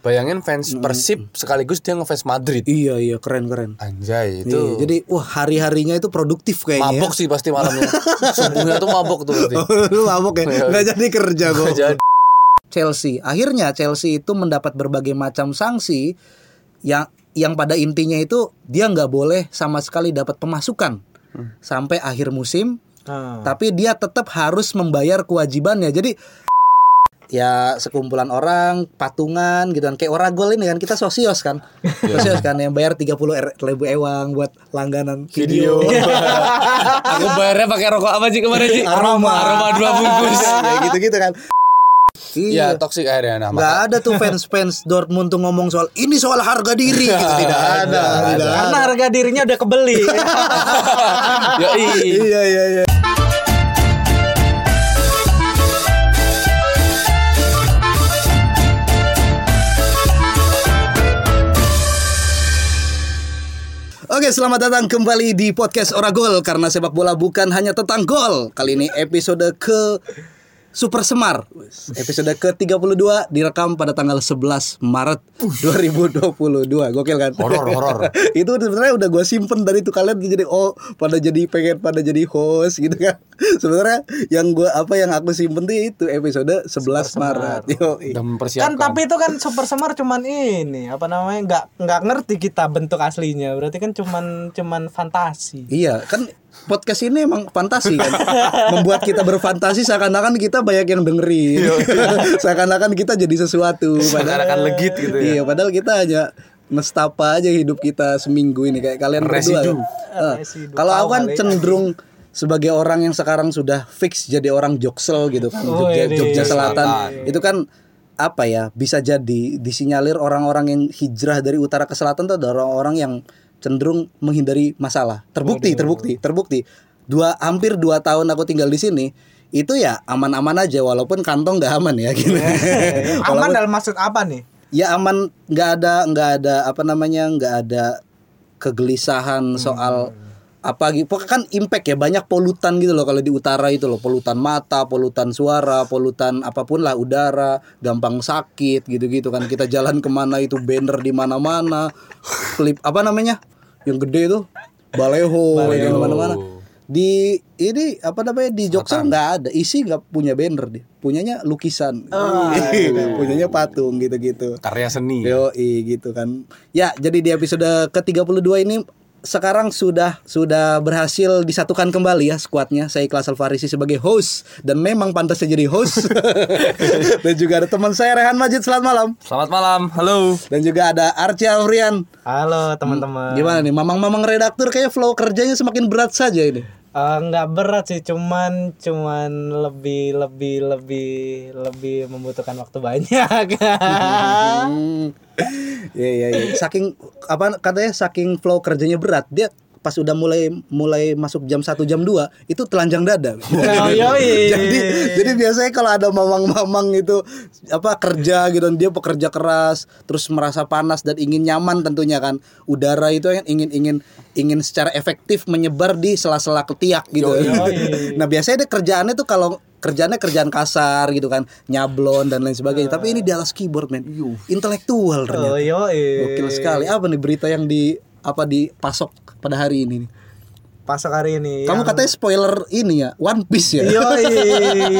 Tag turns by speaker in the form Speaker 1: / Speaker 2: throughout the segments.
Speaker 1: Bayangin fans Persib sekaligus dia ngefans Madrid.
Speaker 2: Iya iya keren keren.
Speaker 1: Anjay
Speaker 2: Iya,
Speaker 1: itu.
Speaker 2: jadi wah hari-harinya itu produktif kayaknya.
Speaker 1: mabok sih pasti malamnya. Subuhnya tuh mabok tuh
Speaker 3: Oh,
Speaker 1: berarti.
Speaker 2: ya. Lu mabok ya.
Speaker 1: Iya.
Speaker 2: Nggak jadi kerja gua.
Speaker 1: Nggak jadi.
Speaker 2: Chelsea. Akhirnya Chelsea itu mendapat berbagai macam sanksi yang yang pada intinya itu dia nggak boleh sama sekali dapat pemasukan sampai akhir musim.
Speaker 3: Ah.
Speaker 2: Tapi dia tetap harus membayar kewajibannya. Jadi ya sekumpulan orang patungan gitu kan kayak Oragol ini kan kita sosios kan sosios kan yang bayar 30 er- ribu ewang buat langganan video,
Speaker 4: Aku bayarnya pakai rokok apa sih kemarin sih?
Speaker 2: aroma
Speaker 4: Aroma dua bungkus.
Speaker 2: kayak gitu-gitu kan
Speaker 1: Iya, toksik akhirnya nah,
Speaker 2: Nggak
Speaker 1: maka-
Speaker 2: ada tuh fans-fans Dortmund tuh ngomong soal ini soal harga diri gitu. Tidak ada, tidak
Speaker 3: Karena
Speaker 2: ada.
Speaker 3: Kan harga dirinya udah kebeli. Kan
Speaker 4: Yoi.
Speaker 2: Iya iya iya. Oke, selamat datang kembali di podcast Oragol karena sepak bola bukan hanya tentang gol. Kali ini episode ke Super Semar. Episode ke-32 direkam pada tanggal 11 Maret 2022. Gokil kan?
Speaker 1: Horor, horor.
Speaker 2: itu sebenarnya udah gue simpen dari itu kalian jadi oh pada jadi pengen pada jadi host gitu kan sebenarnya yang gue apa yang aku simpen tuh itu episode 11 Maret Yoi.
Speaker 1: udah
Speaker 3: kan
Speaker 1: mempersiapkan.
Speaker 3: tapi itu kan super semar cuman ini apa namanya nggak nggak ngerti kita bentuk aslinya berarti kan cuman cuman fantasi
Speaker 2: iya kan podcast ini emang fantasi kan membuat kita berfantasi seakan-akan kita banyak yang dengerin seakan-akan kita jadi sesuatu padahal
Speaker 4: Seakan-akan legit gitu ya.
Speaker 2: iya padahal kita hanya nestapa aja hidup kita seminggu ini kayak kalian berdua
Speaker 4: Residu.
Speaker 2: Eh,
Speaker 3: Residu.
Speaker 2: kalau aku kan
Speaker 3: Tahu kali.
Speaker 2: cenderung sebagai orang yang sekarang sudah fix jadi orang Joksel gitu kan Jogja,
Speaker 3: Wih.
Speaker 2: Jogja Selatan itu kan apa ya bisa jadi disinyalir orang-orang yang hijrah dari utara ke selatan tuh ada orang-orang yang cenderung menghindari masalah terbukti terbukti terbukti dua hampir dua tahun aku tinggal di sini itu ya aman-aman aja walaupun kantong nggak aman ya gitu
Speaker 3: aman dalam maksud apa nih
Speaker 2: ya aman nggak ada nggak ada apa namanya nggak ada kegelisahan soal apa gitu pokoknya kan impact ya banyak polutan gitu loh kalau di utara itu loh polutan mata polutan suara polutan apapun lah udara gampang sakit gitu gitu kan kita jalan kemana itu banner di mana mana klip apa namanya yang gede itu baleho, di mana mana di ini apa namanya di Jogja nggak ada isi nggak punya banner dia punyanya lukisan Iya, gitu. punyanya patung gitu gitu
Speaker 1: karya seni.
Speaker 3: Iya.
Speaker 2: Yoi gitu kan. Ya, jadi di episode ke-32 ini sekarang sudah sudah berhasil disatukan kembali ya skuadnya. Saya Ikhlas Alfarisi sebagai host dan memang pantasnya jadi host. dan juga ada teman saya Rehan Majid selamat malam.
Speaker 4: Selamat malam. Halo.
Speaker 2: Dan juga ada Arci Afrian.
Speaker 3: halo teman-teman
Speaker 2: Gimana nih, mamang-mamang redaktur kayak flow kerjanya semakin berat saja ini.
Speaker 3: Eh, nggak berat sih cuman cuman lebih lebih lebih lebih membutuhkan waktu banyak Oh,
Speaker 2: Hmm. Iya iya iya. Saking apa katanya saking flow kerjanya berat, dia pas udah mulai mulai masuk jam 1 jam 2 itu telanjang dada.
Speaker 3: Oh, yoi.
Speaker 2: jadi jadi biasanya kalau ada mamang-mamang itu apa kerja gitu dia pekerja keras, terus merasa panas dan ingin nyaman tentunya kan. Udara itu kan ingin ingin ingin secara efektif menyebar di sela-sela ketiak gitu.
Speaker 3: Yoi.
Speaker 2: Nah biasanya dia kerjaannya tuh kalau kerjaannya kerjaan kasar gitu kan nyablon dan lain sebagainya tapi ini Dallas keyboard men intelektual
Speaker 3: oh
Speaker 2: ternyata
Speaker 3: yo
Speaker 2: gokil sekali apa nih berita yang di apa dipasok pada hari ini nih?
Speaker 3: pasok hari ini
Speaker 2: kamu
Speaker 3: yang- Iya,
Speaker 2: katanya spoiler ini ya One Piece ya
Speaker 3: Yoi,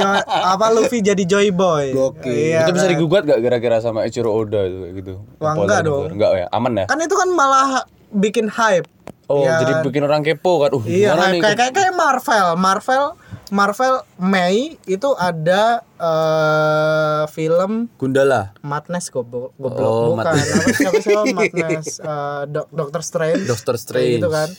Speaker 3: yang- apa Luffy jadi Joy Boy?
Speaker 2: Gokil.
Speaker 3: Iya,
Speaker 1: itu bisa
Speaker 3: kan?
Speaker 1: digugat gak kira-kira sama Ichiro Oda itu kayak gitu? Spoiler
Speaker 3: Wah, enggak
Speaker 1: gitu.
Speaker 3: dong.
Speaker 1: Enggak ya, aman ya.
Speaker 3: Kan itu kan malah bikin hype.
Speaker 1: Oh,
Speaker 3: Iya
Speaker 1: jadi
Speaker 3: kan?
Speaker 1: bikin orang kepo kan. Uh,
Speaker 3: Iya,
Speaker 1: gimana
Speaker 3: hype.
Speaker 1: nih?
Speaker 3: kayak kayak kayak Marvel, Marvel, Marvel Mei itu ada eh, film
Speaker 1: Gundala.
Speaker 3: Madness goblok goblok
Speaker 1: Oh,
Speaker 3: bukan
Speaker 1: Madness.
Speaker 3: apa siapa siapa Madness eh, Dok- Doctor Strange.
Speaker 1: Doctor
Speaker 3: Kayak
Speaker 1: Strange.
Speaker 3: gitu kan.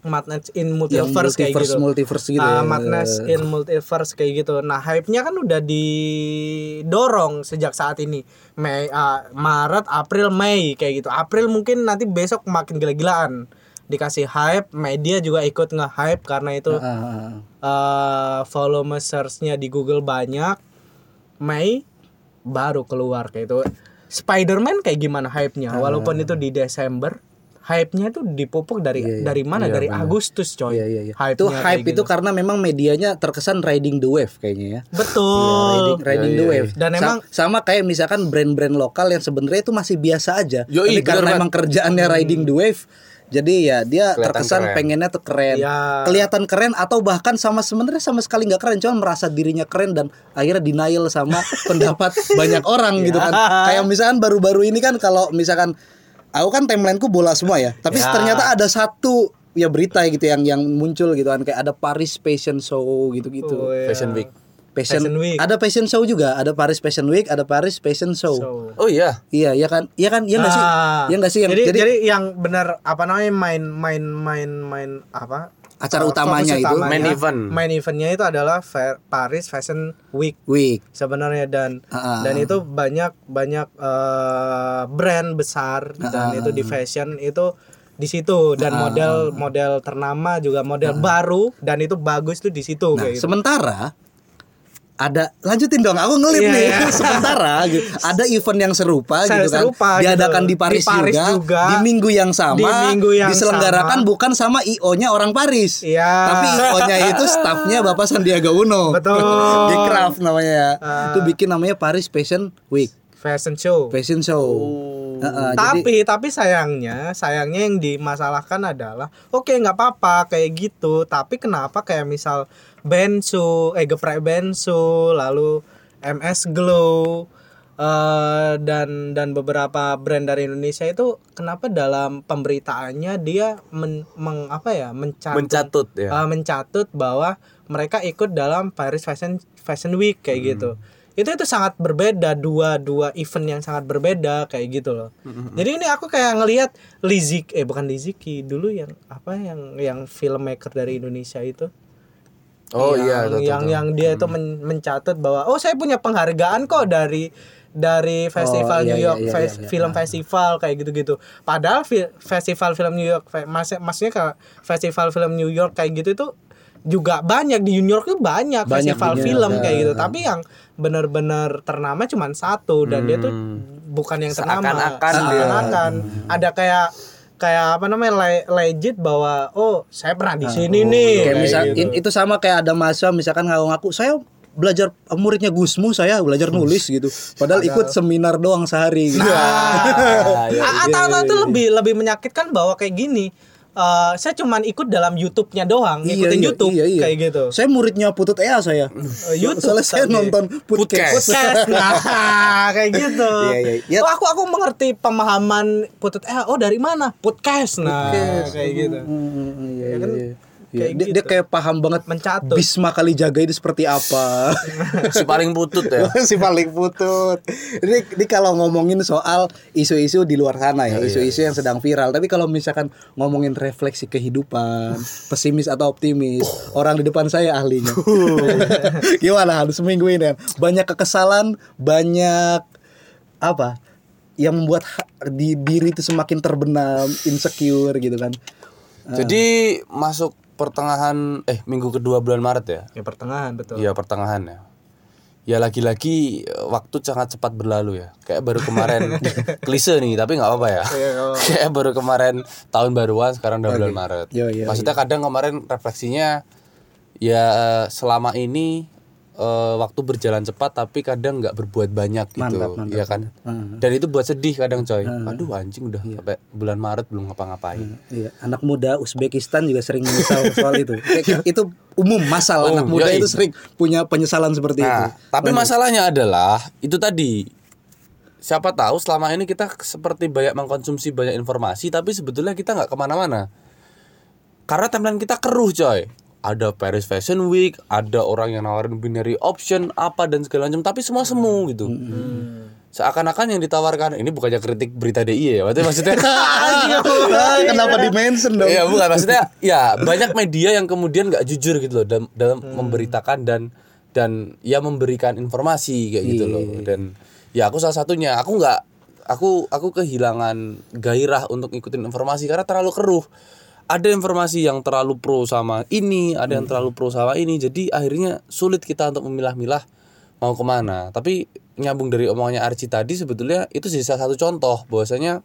Speaker 3: Madness
Speaker 2: yang
Speaker 3: in multiverse, kayak
Speaker 2: multiverse
Speaker 3: gitu.
Speaker 2: multiverse gitu ya.
Speaker 3: Ah, Madness in multiverse kayak gitu. Nah, hype-nya kan udah didorong sejak saat ini. Mei ah, Maret, April, Mei kayak gitu. April mungkin nanti besok makin gila-gilaan. Dikasih hype, media juga ikut nge-hype karena itu
Speaker 2: Ah, ah, ah.
Speaker 3: eh volume search-nya di Google banyak. Mei gitu.
Speaker 2: Ah.
Speaker 3: baru keluar kayak itu. Spider-Man kayak gimana hype-nya walaupun itu di Desember hype-nya itu dipupuk dari dari mana? dari Agustus, coy.
Speaker 2: Iya iya iya.
Speaker 3: Hype-nya
Speaker 2: Itu
Speaker 3: kayak
Speaker 2: hype itu
Speaker 3: gitu.
Speaker 2: karena memang medianya terkesan riding the wave kayaknya ya.
Speaker 3: betul.
Speaker 2: Riding, riding the wave. Sa-
Speaker 3: Dan emang-
Speaker 2: sama kayak misalkan brand-brand lokal yang sebenarnya itu masih biasa aja.
Speaker 1: Yoi,
Speaker 2: Tapi karena
Speaker 1: bener, Hmm.
Speaker 2: emang kerjaannya riding the wave, jadi ya dia
Speaker 1: Kelihatan
Speaker 2: terkesan
Speaker 1: keren.
Speaker 2: pengennya tuh keren.
Speaker 3: Iya.
Speaker 2: Kelihatan keren atau bahkan sama sebenarnya sama sekali nggak keren, cuman merasa dirinya keren dan akhirnya denial sama pendapat banyak orang gitu
Speaker 3: Iya.
Speaker 2: kan. Kayak misalkan baru-baru ini kan kalau misalkan aku kan timelineku bola semua ya, tapi
Speaker 3: Ya.
Speaker 2: ternyata ada satu ya berita gitu yang yang muncul gitu kan kayak ada Paris Fashion Show gitu-gitu.
Speaker 3: Oh, iya.
Speaker 1: Fashion Week.
Speaker 2: gitu. Fashion,
Speaker 3: Fashion Week.
Speaker 2: Ada fashion show juga, ada Paris Fashion Week, ada Paris Fashion Show.
Speaker 3: So.
Speaker 1: Oh iya.
Speaker 2: Iya, iya kan? Iya kan? Iya enggak sih?
Speaker 3: Ah.
Speaker 2: Iya enggak sih yang
Speaker 3: jadi, jadi, yang benar apa namanya main main main main apa?
Speaker 2: acara
Speaker 3: Uh,
Speaker 2: utamanya
Speaker 3: fokus
Speaker 2: itu
Speaker 3: utamanya,
Speaker 1: Main event.
Speaker 3: Main eventnya itu adalah Fair- Paris Fashion Week
Speaker 2: week.
Speaker 3: sebenarnya dan
Speaker 2: Ah, ah,
Speaker 3: dan
Speaker 2: ah.
Speaker 3: itu banyak banyak eh, brand besar
Speaker 2: Ah.
Speaker 3: dan itu di fashion itu di situ dan model model ternama juga model baru dan itu bagus tuh di
Speaker 2: Ah.
Speaker 3: situ
Speaker 2: Nah,
Speaker 3: kayak gitu.
Speaker 2: sementara ada lanjutin dong. Aku ngelip
Speaker 3: Iya,
Speaker 2: nih.
Speaker 3: iya.
Speaker 2: sementara gitu. Ada event yang serupa gitu
Speaker 3: Saya
Speaker 2: kan.
Speaker 3: serupa gitu.
Speaker 2: diadakan di
Speaker 3: Di
Speaker 2: Paris,
Speaker 3: Paris juga.
Speaker 2: Di minggu yang sama.
Speaker 3: Di minggu yang
Speaker 2: diselenggarakan
Speaker 3: sama.
Speaker 2: bukan sama IO-nya orang Paris.
Speaker 3: Iya.
Speaker 2: Tapi IO-nya itu stafnya Bapak Sandiaga Uno.
Speaker 3: Betul. Ah.
Speaker 2: di craft namanya ya. Itu bikin namanya Paris Fashion Week.
Speaker 3: Fashion show.
Speaker 2: Fashion show. Heeh, Eh, jadi-
Speaker 3: Oh. tapi tapi sayangnya sayangnya yang dimasalahkan adalah oke nggak apa-apa kayak gitu tapi kenapa kayak misal Bensu eh geprek Bensu lalu MS Glow eh, dan dan beberapa brand dari Indonesia itu kenapa dalam pemberitaannya dia men, meng- apa ya mencatut
Speaker 1: Mencatut ya.
Speaker 3: eh, mencatut bahwa mereka ikut dalam Paris Fashion Fashion Week kayak gitu. Itu itu sangat berbeda dua dua event yang sangat berbeda kayak gitu loh. Jadi ini aku kayak ngelihat Lizik eh bukan Liziki dulu yang apa yang yang filmmaker dari Indonesia itu.
Speaker 1: Oh
Speaker 3: yang,
Speaker 1: iya. tahu, tahu,
Speaker 3: yang
Speaker 1: tahu.
Speaker 3: yang dia
Speaker 2: Hmm.
Speaker 3: itu men- mencatat bahwa oh saya punya penghargaan kok dari dari
Speaker 2: iya,
Speaker 3: festival New
Speaker 2: iya,
Speaker 3: York
Speaker 2: iya,
Speaker 3: Fes-
Speaker 2: iya, iya.
Speaker 3: Film Festival kayak gitu-gitu. Padahal fi- festival film New York fe- mas- maksudnya kayak festival film New York kayak gitu itu juga banyak di New York itu banyak,
Speaker 2: Banyak
Speaker 3: festival
Speaker 2: dunia,
Speaker 3: film
Speaker 2: ya.
Speaker 3: kayak gitu. Tapi yang benar-benar ternama cuman satu dan dia tuh
Speaker 2: Hmm.
Speaker 3: bukan yang ternama.
Speaker 1: Seakan-akan dia.
Speaker 3: Seakan-akan. ada kayak kayak apa namanya le- legit bahwa oh saya pernah
Speaker 2: Ah.
Speaker 3: di sini nih
Speaker 2: kayak
Speaker 3: kayak
Speaker 2: misal
Speaker 3: gitu.
Speaker 2: in- itu sama kayak ada mahasiswa misalkan ngaku-ngaku saya belajar muridnya Gusmu saya belajar nulis gitu padahal ikut seminar doang sehari gitu. iya,
Speaker 3: Ah, atau atau itu lebih lebih menyakitkan bahwa kayak gini eh, saya cuman ikut dalam YouTube-nya doang,
Speaker 2: Iya,
Speaker 3: ngikutin
Speaker 2: iya,
Speaker 3: YouTube
Speaker 2: iya, iya.
Speaker 3: kayak gitu. Uh,
Speaker 2: saya muridnya Putut Ea saya
Speaker 3: YouTube,
Speaker 2: soalnya saya
Speaker 3: tapi-
Speaker 2: nonton podcast,
Speaker 3: Podcast. Nah, kayak gitu.
Speaker 2: Iya, iya, iya.
Speaker 3: Oh, aku aku mengerti pemahaman putut eh oh dari mana? Podcast. Nah, kayak gitu.
Speaker 2: Hmm, iya,
Speaker 3: Ya kan?
Speaker 2: iya, iya. Iya,
Speaker 3: Kayak
Speaker 2: dia, dia
Speaker 3: gitu.
Speaker 2: kayak paham banget
Speaker 3: Mencatut.
Speaker 2: Bisma kali jaga itu seperti apa
Speaker 1: si paling putut ya.
Speaker 2: si paling putut. Ini, ini kalau ngomongin soal isu-isu di luar sana ya, isu-isu yang sedang viral. Tapi kalau misalkan ngomongin refleksi kehidupan, pesimis atau optimis, orang di depan saya ahlinya. Gimana harus seminggu ini? kan? Banyak kekesalan, banyak apa? Yang membuat ha- di diri itu semakin terbenam, insecure gitu kan.
Speaker 1: Jadi masuk pertengahan eh minggu kedua bulan Maret ya.
Speaker 3: Ya pertengahan betul.
Speaker 1: Iya pertengahan ya. Ya lagi-lagi eh, waktu sangat cepat berlalu ya. Kayak baru kemarin klise nih tapi nggak apa-apa ya. Kayak baru kemarin tahun baruan sekarang udah bulan Maret.
Speaker 2: Yo, yo,
Speaker 1: Maksudnya kadang kemarin refleksinya ya eh, selama ini eh, waktu berjalan cepat tapi kadang nggak berbuat banyak gitu,
Speaker 2: Mantap, mantap,
Speaker 1: Iya kan? Dan itu buat sedih kadang coy. Aduh anjing udah sampai bulan Maret belum ngapa-ngapain.
Speaker 2: Iya, anak muda Uzbekistan juga sering menyesal soal itu. Kayak- itu umum masalah anak
Speaker 1: Umum,
Speaker 2: muda
Speaker 1: yoi.
Speaker 2: itu sering punya penyesalan seperti itu.
Speaker 1: Nah, tapi masalahnya adalah itu tadi siapa tahu selama ini kita seperti banyak mengkonsumsi banyak informasi tapi sebetulnya kita nggak kemana-mana karena timeline kita keruh coy ada Paris Fashion Week ada orang yang nawarin binary option apa dan segala macam tapi semua semu gitu
Speaker 2: Hmm.
Speaker 1: seakan-akan yang ditawarkan ini bukannya kritik berita DI ya maksudnya maksudnya
Speaker 2: Ah, Kenapa di mention dong?
Speaker 1: Iya bukan maksudnya ya banyak media yang kemudian nggak jujur gitu loh dalam, dalam memberitakan dan dan ya memberikan informasi kayak gitu loh dan ya aku salah satunya aku nggak aku aku kehilangan gairah untuk ngikutin informasi karena terlalu keruh ada informasi yang terlalu pro sama ini ada yang terlalu pro sama ini jadi akhirnya sulit kita untuk memilah-milah mau kemana tapi nyambung dari omongannya Archie tadi sebetulnya itu sih salah satu contoh bahwasanya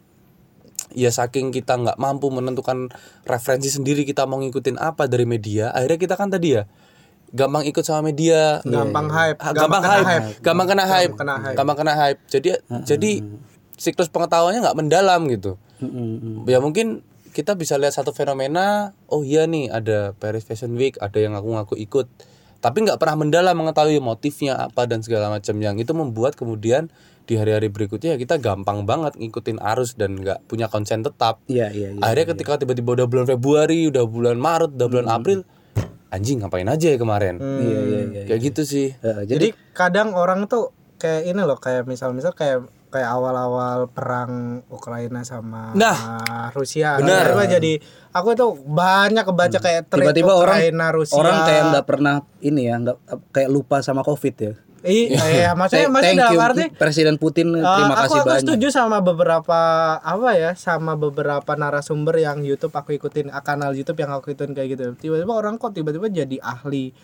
Speaker 1: ya saking kita nggak mampu menentukan referensi sendiri kita mau ngikutin apa dari media akhirnya kita kan tadi ya gampang ikut sama media
Speaker 3: gampang hype
Speaker 1: Ah, gampang,
Speaker 3: kena
Speaker 1: hype, gampang kena hype,
Speaker 3: kena hype.
Speaker 1: gampang kena hype. Jadi jadi siklus pengetahuannya nggak mendalam gitu. Ya mungkin kita bisa lihat satu fenomena, oh iya nih ada Paris Fashion Week, ada yang aku ngaku ikut, tapi nggak pernah mendalam mengetahui motifnya apa dan segala macam yang itu membuat kemudian di hari-hari berikutnya ya kita gampang banget ngikutin arus dan nggak punya konsen tetap.
Speaker 2: Iya, iya, iya. Hmm.
Speaker 1: Akhirnya ketika tiba-tiba udah bulan Februari, udah bulan Maret, udah bulan April, anjing ngapain aja ya kemarin?
Speaker 2: Iya, iya, iya.
Speaker 1: Kayak gitu sih.
Speaker 2: Eh,
Speaker 3: jadi
Speaker 2: jadi
Speaker 3: kadang orang tuh kayak ini loh kayak misal-misal kayak kayak awal-awal perang Ukraina sama
Speaker 1: Nah,
Speaker 3: Rusia
Speaker 1: benar.
Speaker 3: Tiba-tiba jadi aku tuh banyak kebaca kayak trade
Speaker 2: Hmm. tiba-tiba orang
Speaker 3: Ukraina Rusia
Speaker 2: orang kayak nggak pernah ini ya, nggak kayak lupa sama Covid ya.
Speaker 3: I- iya maksudnya
Speaker 2: Thank-
Speaker 3: maksudnya
Speaker 2: thank
Speaker 3: dalam
Speaker 2: you
Speaker 3: arti
Speaker 2: Presiden Putin
Speaker 3: Eh,
Speaker 2: terima
Speaker 3: aku,
Speaker 2: kasih
Speaker 3: aku
Speaker 2: banyak.
Speaker 3: setuju sama beberapa apa ya sama beberapa narasumber yang YouTube aku ikutin ah, kanal YouTube yang aku ikutin kayak gitu tiba-tiba orang kok tiba-tiba jadi ahli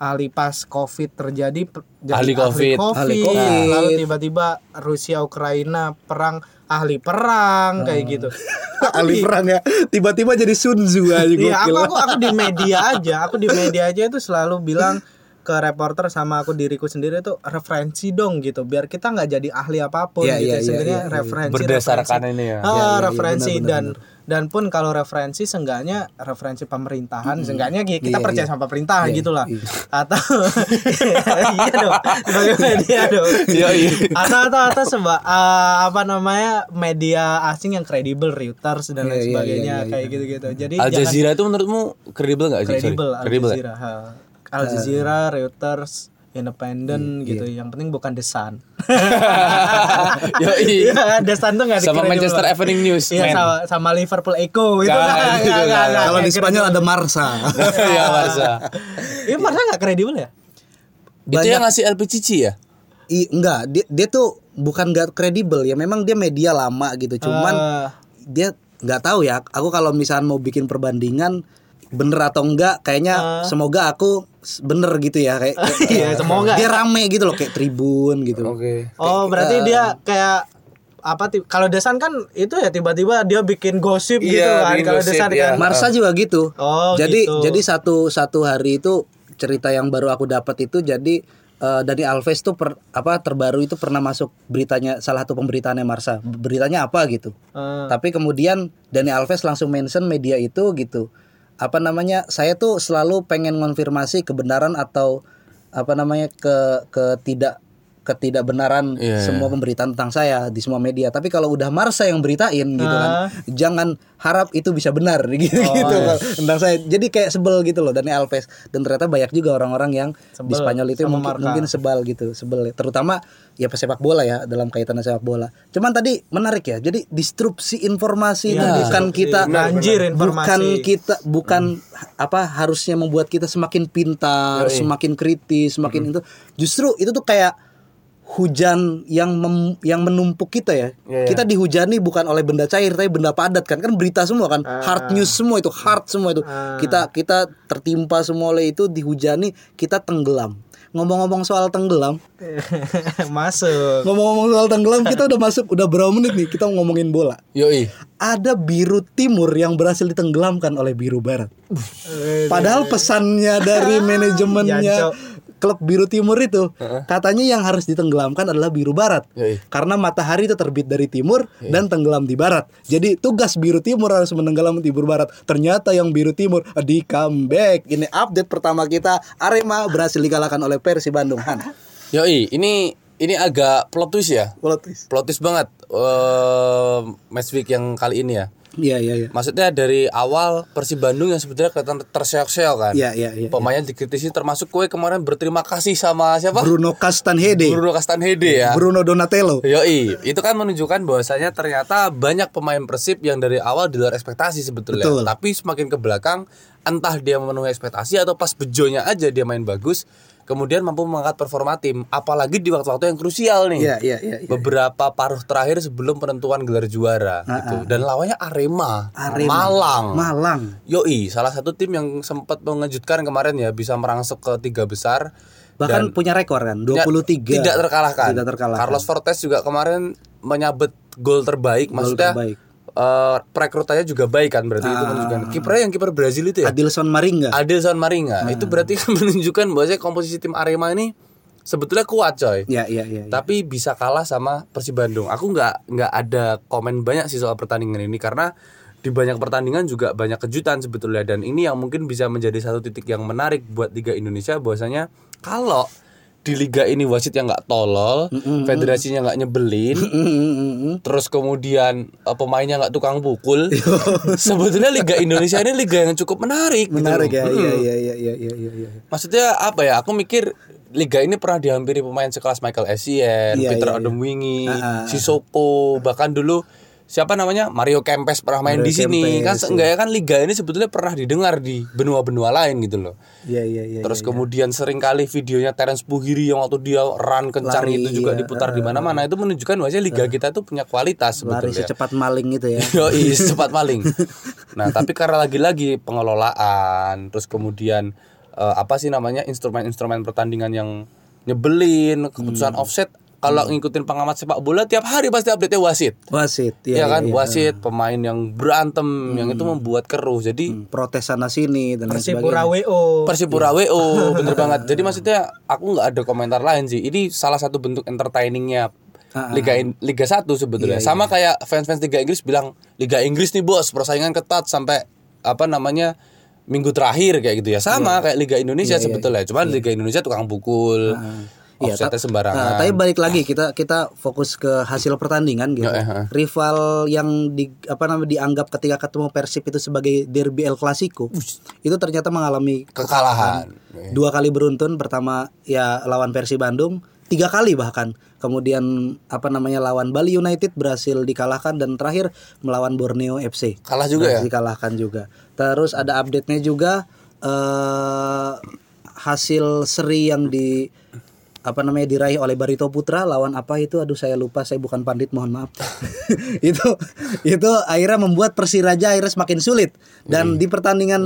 Speaker 3: ahli pas COVID terjadi per- jadi
Speaker 1: Ahli COVID.
Speaker 2: Ahli
Speaker 3: COVID, Nah,
Speaker 2: COVID.
Speaker 3: lalu tiba-tiba Rusia Ukraina perang ahli
Speaker 2: Hmm.
Speaker 3: perang kayak gitu Aku
Speaker 2: ahli
Speaker 3: di-
Speaker 2: perang ya. Tiba-tiba jadi Sun Tzu aja
Speaker 3: Iya, aku,
Speaker 2: gokil.
Speaker 3: aku aku di media aja, aku di media aja itu selalu bilang ke reporter sama aku diriku sendiri tuh referensi dong gitu, biar kita nggak jadi ahli apapun
Speaker 2: Iya,
Speaker 3: gitu.
Speaker 2: iya, iya,
Speaker 3: Sebenarnya
Speaker 2: iya, iya.
Speaker 3: referensi
Speaker 1: Berdasarkan
Speaker 3: referensi.
Speaker 1: ini ya.
Speaker 3: Ah,
Speaker 2: Oh,
Speaker 3: referensi dan dan pun kalau referensi seenggaknya referensi pemerintahan seenggaknya ki-
Speaker 2: Iya,
Speaker 3: kita percaya
Speaker 2: iya.
Speaker 3: sama pemerintahan
Speaker 2: Iya,
Speaker 3: gitu lah
Speaker 2: iya.
Speaker 3: atau iya dong sebagai media dong
Speaker 1: Iya, iya.
Speaker 3: atau atau atau seba, eh, apa namanya media asing yang kredibel Reuters
Speaker 2: Iya, iya,
Speaker 3: dan lain
Speaker 2: iya,
Speaker 3: sebagainya
Speaker 2: iya,
Speaker 3: kayak gitu-gitu jadi
Speaker 1: Al
Speaker 3: jangan-
Speaker 1: Jazeera itu menurutmu kredibel nggak sih? Sorry.
Speaker 3: kredibel Al
Speaker 1: Kredibel ya?
Speaker 3: Jazeera. ha. Al Jazeera, Reuters, Independent gitu. Yang penting bukan The Sun.
Speaker 1: Yoi.
Speaker 3: Iya, The Sun tuh nggak
Speaker 1: Sama
Speaker 3: dikredibel.
Speaker 1: Manchester Evening News,
Speaker 3: Iya,
Speaker 1: man.
Speaker 3: sama, sama Liverpool Echo itu
Speaker 1: Nggak,
Speaker 3: nggak-
Speaker 1: itu
Speaker 3: nggak-
Speaker 1: nggak.
Speaker 3: nggak-
Speaker 2: Kalau
Speaker 3: nggak
Speaker 2: di Spanyol ada Marsa.
Speaker 1: Iya, Barca.
Speaker 3: kredibel. Iya, masa nggak kredibel ya?
Speaker 1: Itu yang ngasih LPCC ya?
Speaker 2: I, enggak, dia, dia tuh bukan gak kredibel ya. Memang dia media lama gitu. Cuman
Speaker 3: Eh,
Speaker 2: dia nggak tahu ya. Aku kalau misalnya mau bikin perbandingan bener atau enggak kayaknya semoga aku s- bener gitu ya kayak, kayak-
Speaker 3: Ah. Iya,
Speaker 2: kayak-
Speaker 3: semoga.
Speaker 2: dia rame gitu loh kayak tribun gitu
Speaker 3: oh, berarti
Speaker 2: eh,
Speaker 3: dia kayak apa ti- kalau The Sun kan itu ya tiba-tiba dia bikin gosip gitu
Speaker 1: Iya,
Speaker 3: kan
Speaker 1: bikin
Speaker 3: kalau The
Speaker 1: gosip,
Speaker 3: Sun
Speaker 1: iya.
Speaker 3: kan
Speaker 2: Marsa juga gitu.
Speaker 3: Oh,
Speaker 2: jadi
Speaker 3: gitu.
Speaker 2: jadi satu satu hari itu cerita yang baru aku dapat itu jadi eh, Dani Alves tuh per- apa terbaru itu pernah masuk beritanya salah satu pemberitaannya Marsa. Beritanya apa gitu.
Speaker 1: iya.
Speaker 3: Eh.
Speaker 2: Tapi kemudian Dani Alves langsung mention media itu gitu. Apa namanya? Saya tuh selalu pengen konfirmasi kebenaran atau apa namanya ke ketidak ketidakbenaran
Speaker 1: Iya,
Speaker 2: semua pemberitaan tentang saya di semua media. Tapi kalau udah Marsa yang beritain gitu kan, jangan harap itu bisa benar gitu
Speaker 1: Oh,
Speaker 2: gitu
Speaker 1: iya.
Speaker 2: tentang saya jadi kayak sebel gitu loh Dani Alves dan ternyata banyak juga orang-orang yang di Spanyol itu
Speaker 3: sama
Speaker 2: mungkin,
Speaker 3: Marca.
Speaker 2: mungkin sebal gitu sebel terutama ya pesepak bola ya dalam kaitan sepak bola cuman tadi menarik ya jadi disrupsi
Speaker 3: Iya,
Speaker 2: informasi itu bukan kita
Speaker 3: banjir informasi.
Speaker 2: bukan kita bukan apa harusnya membuat kita semakin pintar semakin kritis semakin itu justru itu tuh kayak hujan yang mem- yang menumpuk kita ya. Kita dihujani bukan oleh benda cair tapi benda padat kan. Kan berita semua kan. Hard news semua itu, hard semua itu. Kita kita tertimpa semua oleh itu dihujani, kita tenggelam. Ngomong-ngomong soal tenggelam,
Speaker 3: Eh, masuk
Speaker 2: ngomong-ngomong soal tenggelam kita udah masuk udah berapa menit nih kita ngomongin bola.
Speaker 1: Yoi.
Speaker 2: Ada biru timur yang berhasil ditenggelamkan oleh biru barat. Padahal pesannya dari manajemennya
Speaker 3: Jancok.
Speaker 2: klub biru timur itu katanya yang harus ditenggelamkan adalah biru barat
Speaker 1: Yoi.
Speaker 2: karena matahari itu terbit dari timur dan tenggelam di barat. Jadi tugas biru timur harus menenggelam di biru barat. Ternyata yang biru timur eh, di comeback. Ini update pertama kita Arema berhasil dikalahkan oleh Persi Bandung. Han.
Speaker 1: Yoi, ini ini agak plot twist ya.
Speaker 2: Plot twist.
Speaker 1: Plot twist banget. eh match week yang kali ini ya.
Speaker 2: Iya iya iya.
Speaker 1: Maksudnya dari awal Persib Bandung yang sebenarnya kelihatan terseok-seok kan.
Speaker 2: Iya iya iya.
Speaker 1: Pemainnya dikritisi termasuk kue kemarin berterima kasih sama siapa?
Speaker 2: Bruno Castanhede.
Speaker 1: Bruno Castanhede ya.
Speaker 2: Bruno Donatello.
Speaker 1: Yoi, itu kan menunjukkan bahwasanya ternyata banyak pemain Persib yang dari awal di luar ekspektasi sebetulnya.
Speaker 2: Betul.
Speaker 1: Tapi semakin ke belakang, entah dia memenuhi ekspektasi atau pas bejonya aja dia main bagus, kemudian mampu mengangkat performa tim, apalagi di waktu-waktu yang krusial nih.
Speaker 2: Iya iya iya. iya.
Speaker 1: Beberapa paruh terakhir sebelum penentuan gelar juara gitu. Dan lawannya Arema,
Speaker 2: Ah, Arema.
Speaker 1: Malang.
Speaker 2: Malang.
Speaker 1: Yoi, salah satu tim yang sempat mengejutkan kemarin ya bisa merangsek ke tiga besar.
Speaker 2: Bahkan punya rekor kan 23.
Speaker 1: Tidak- tidak terkalahkan.
Speaker 2: Tidak terkalahkan.
Speaker 1: Carlos Fortes juga kemarin menyabet gol terbaik maksudnya
Speaker 2: terbaik.
Speaker 1: eh, perekrutannya juga baik kan berarti itu menunjukkan kipernya yang kiper Brazil itu ya
Speaker 2: Adilson Maringa.
Speaker 1: Adilson Maringa itu berarti kan menunjukkan bahwa komposisi tim Arema ini sebetulnya kuat coy
Speaker 2: Ya, ya, ya. ya.
Speaker 1: tapi bisa kalah sama Persib Bandung. Aku nggak nggak ada komen banyak sih soal pertandingan ini karena di banyak pertandingan juga banyak kejutan sebetulnya dan ini yang mungkin bisa menjadi satu titik yang menarik buat Liga Indonesia bahwasanya kalau di liga ini wasit yang nggak tolol, federasinya nggak nyebelin,
Speaker 2: Mm,
Speaker 1: terus kemudian eh, pemainnya nggak tukang pukul, sebetulnya liga Indonesia ini liga yang cukup menarik. gitu
Speaker 2: Menarik
Speaker 1: loh.
Speaker 2: ya. Iya, iya, iya, iya, iya, iya, iya.
Speaker 1: Maksudnya apa ya? Aku mikir liga ini pernah dihampiri pemain sekelas Michael Essien,
Speaker 2: Iya,
Speaker 1: Peter
Speaker 2: iya, iya.
Speaker 1: Odemwingie, Sissoko, bahkan dulu siapa namanya Mario Kempes pernah main di sini. kan
Speaker 2: iya.
Speaker 1: seenggaknya kan liga ini sebetulnya pernah didengar di benua-benua lain gitu loh.
Speaker 2: Iya, iya, iya.
Speaker 1: Terus kemudian seringkali videonya Terence Puhiri yang waktu dia run kencang
Speaker 2: Lari,
Speaker 1: itu juga
Speaker 2: iya,
Speaker 1: diputar di mana-mana itu menunjukkan bahwa liga kita tuh punya kualitas
Speaker 2: Lari
Speaker 1: sebetulnya.
Speaker 2: secepat maling gitu ya.
Speaker 1: Yoi, cepat maling. Nah, tapi karena lagi-lagi pengelolaan, terus kemudian eh, apa sih namanya instrumen-instrumen pertandingan yang nyebelin, keputusan offset. Kalau ngikutin pengamat sepak bola tiap hari pasti update-nya wasit.
Speaker 2: Wasit,
Speaker 1: Ya,
Speaker 2: ya,
Speaker 1: kan, wasit, pemain yang berantem, yang itu membuat keruh. Jadi
Speaker 2: Hmm, Protes sana sini dan lain
Speaker 3: Persipura
Speaker 2: sebagainya.
Speaker 3: WO.
Speaker 1: Persipura WO, bener banget. Jadi maksudnya aku nggak ada komentar lain sih. Ini salah satu bentuk entertainingnya
Speaker 2: Ah.
Speaker 1: Liga In- Liga 1
Speaker 2: Iya,
Speaker 1: sebetulnya. Sama kayak fans-fans Liga Inggris bilang Liga Inggris nih bos, persaingan ketat sampai apa namanya minggu terakhir kayak gitu ya. Sama kayak Liga Indonesia sebetulnya. Cuman Liga Indonesia tukang pukul.
Speaker 2: Iya,
Speaker 1: offsetnya
Speaker 2: ta-
Speaker 1: sembarangan.
Speaker 2: Nah, tapi balik lagi kita kita fokus ke hasil pertandingan gitu.
Speaker 1: Iya,
Speaker 2: Rival yang di apa namanya dianggap ketika ketemu Persib itu sebagai derby El Clasico itu ternyata mengalami
Speaker 1: Kekalahan.
Speaker 2: Iya.
Speaker 1: Iya.
Speaker 2: dua kali beruntun pertama ya lawan Persi Bandung tiga kali bahkan kemudian apa namanya lawan Bali United berhasil dikalahkan dan terakhir melawan Borneo FC
Speaker 1: Kalah juga ya?
Speaker 2: Berhasil dikalahkan juga terus ada update nya juga eh hasil seri yang di apa namanya diraih oleh Barito Putra lawan apa itu aduh saya lupa saya bukan pandit mohon maaf itu itu akhirnya membuat Persiraja akhirnya semakin sulit
Speaker 1: Hmm.
Speaker 2: dan di pertandingan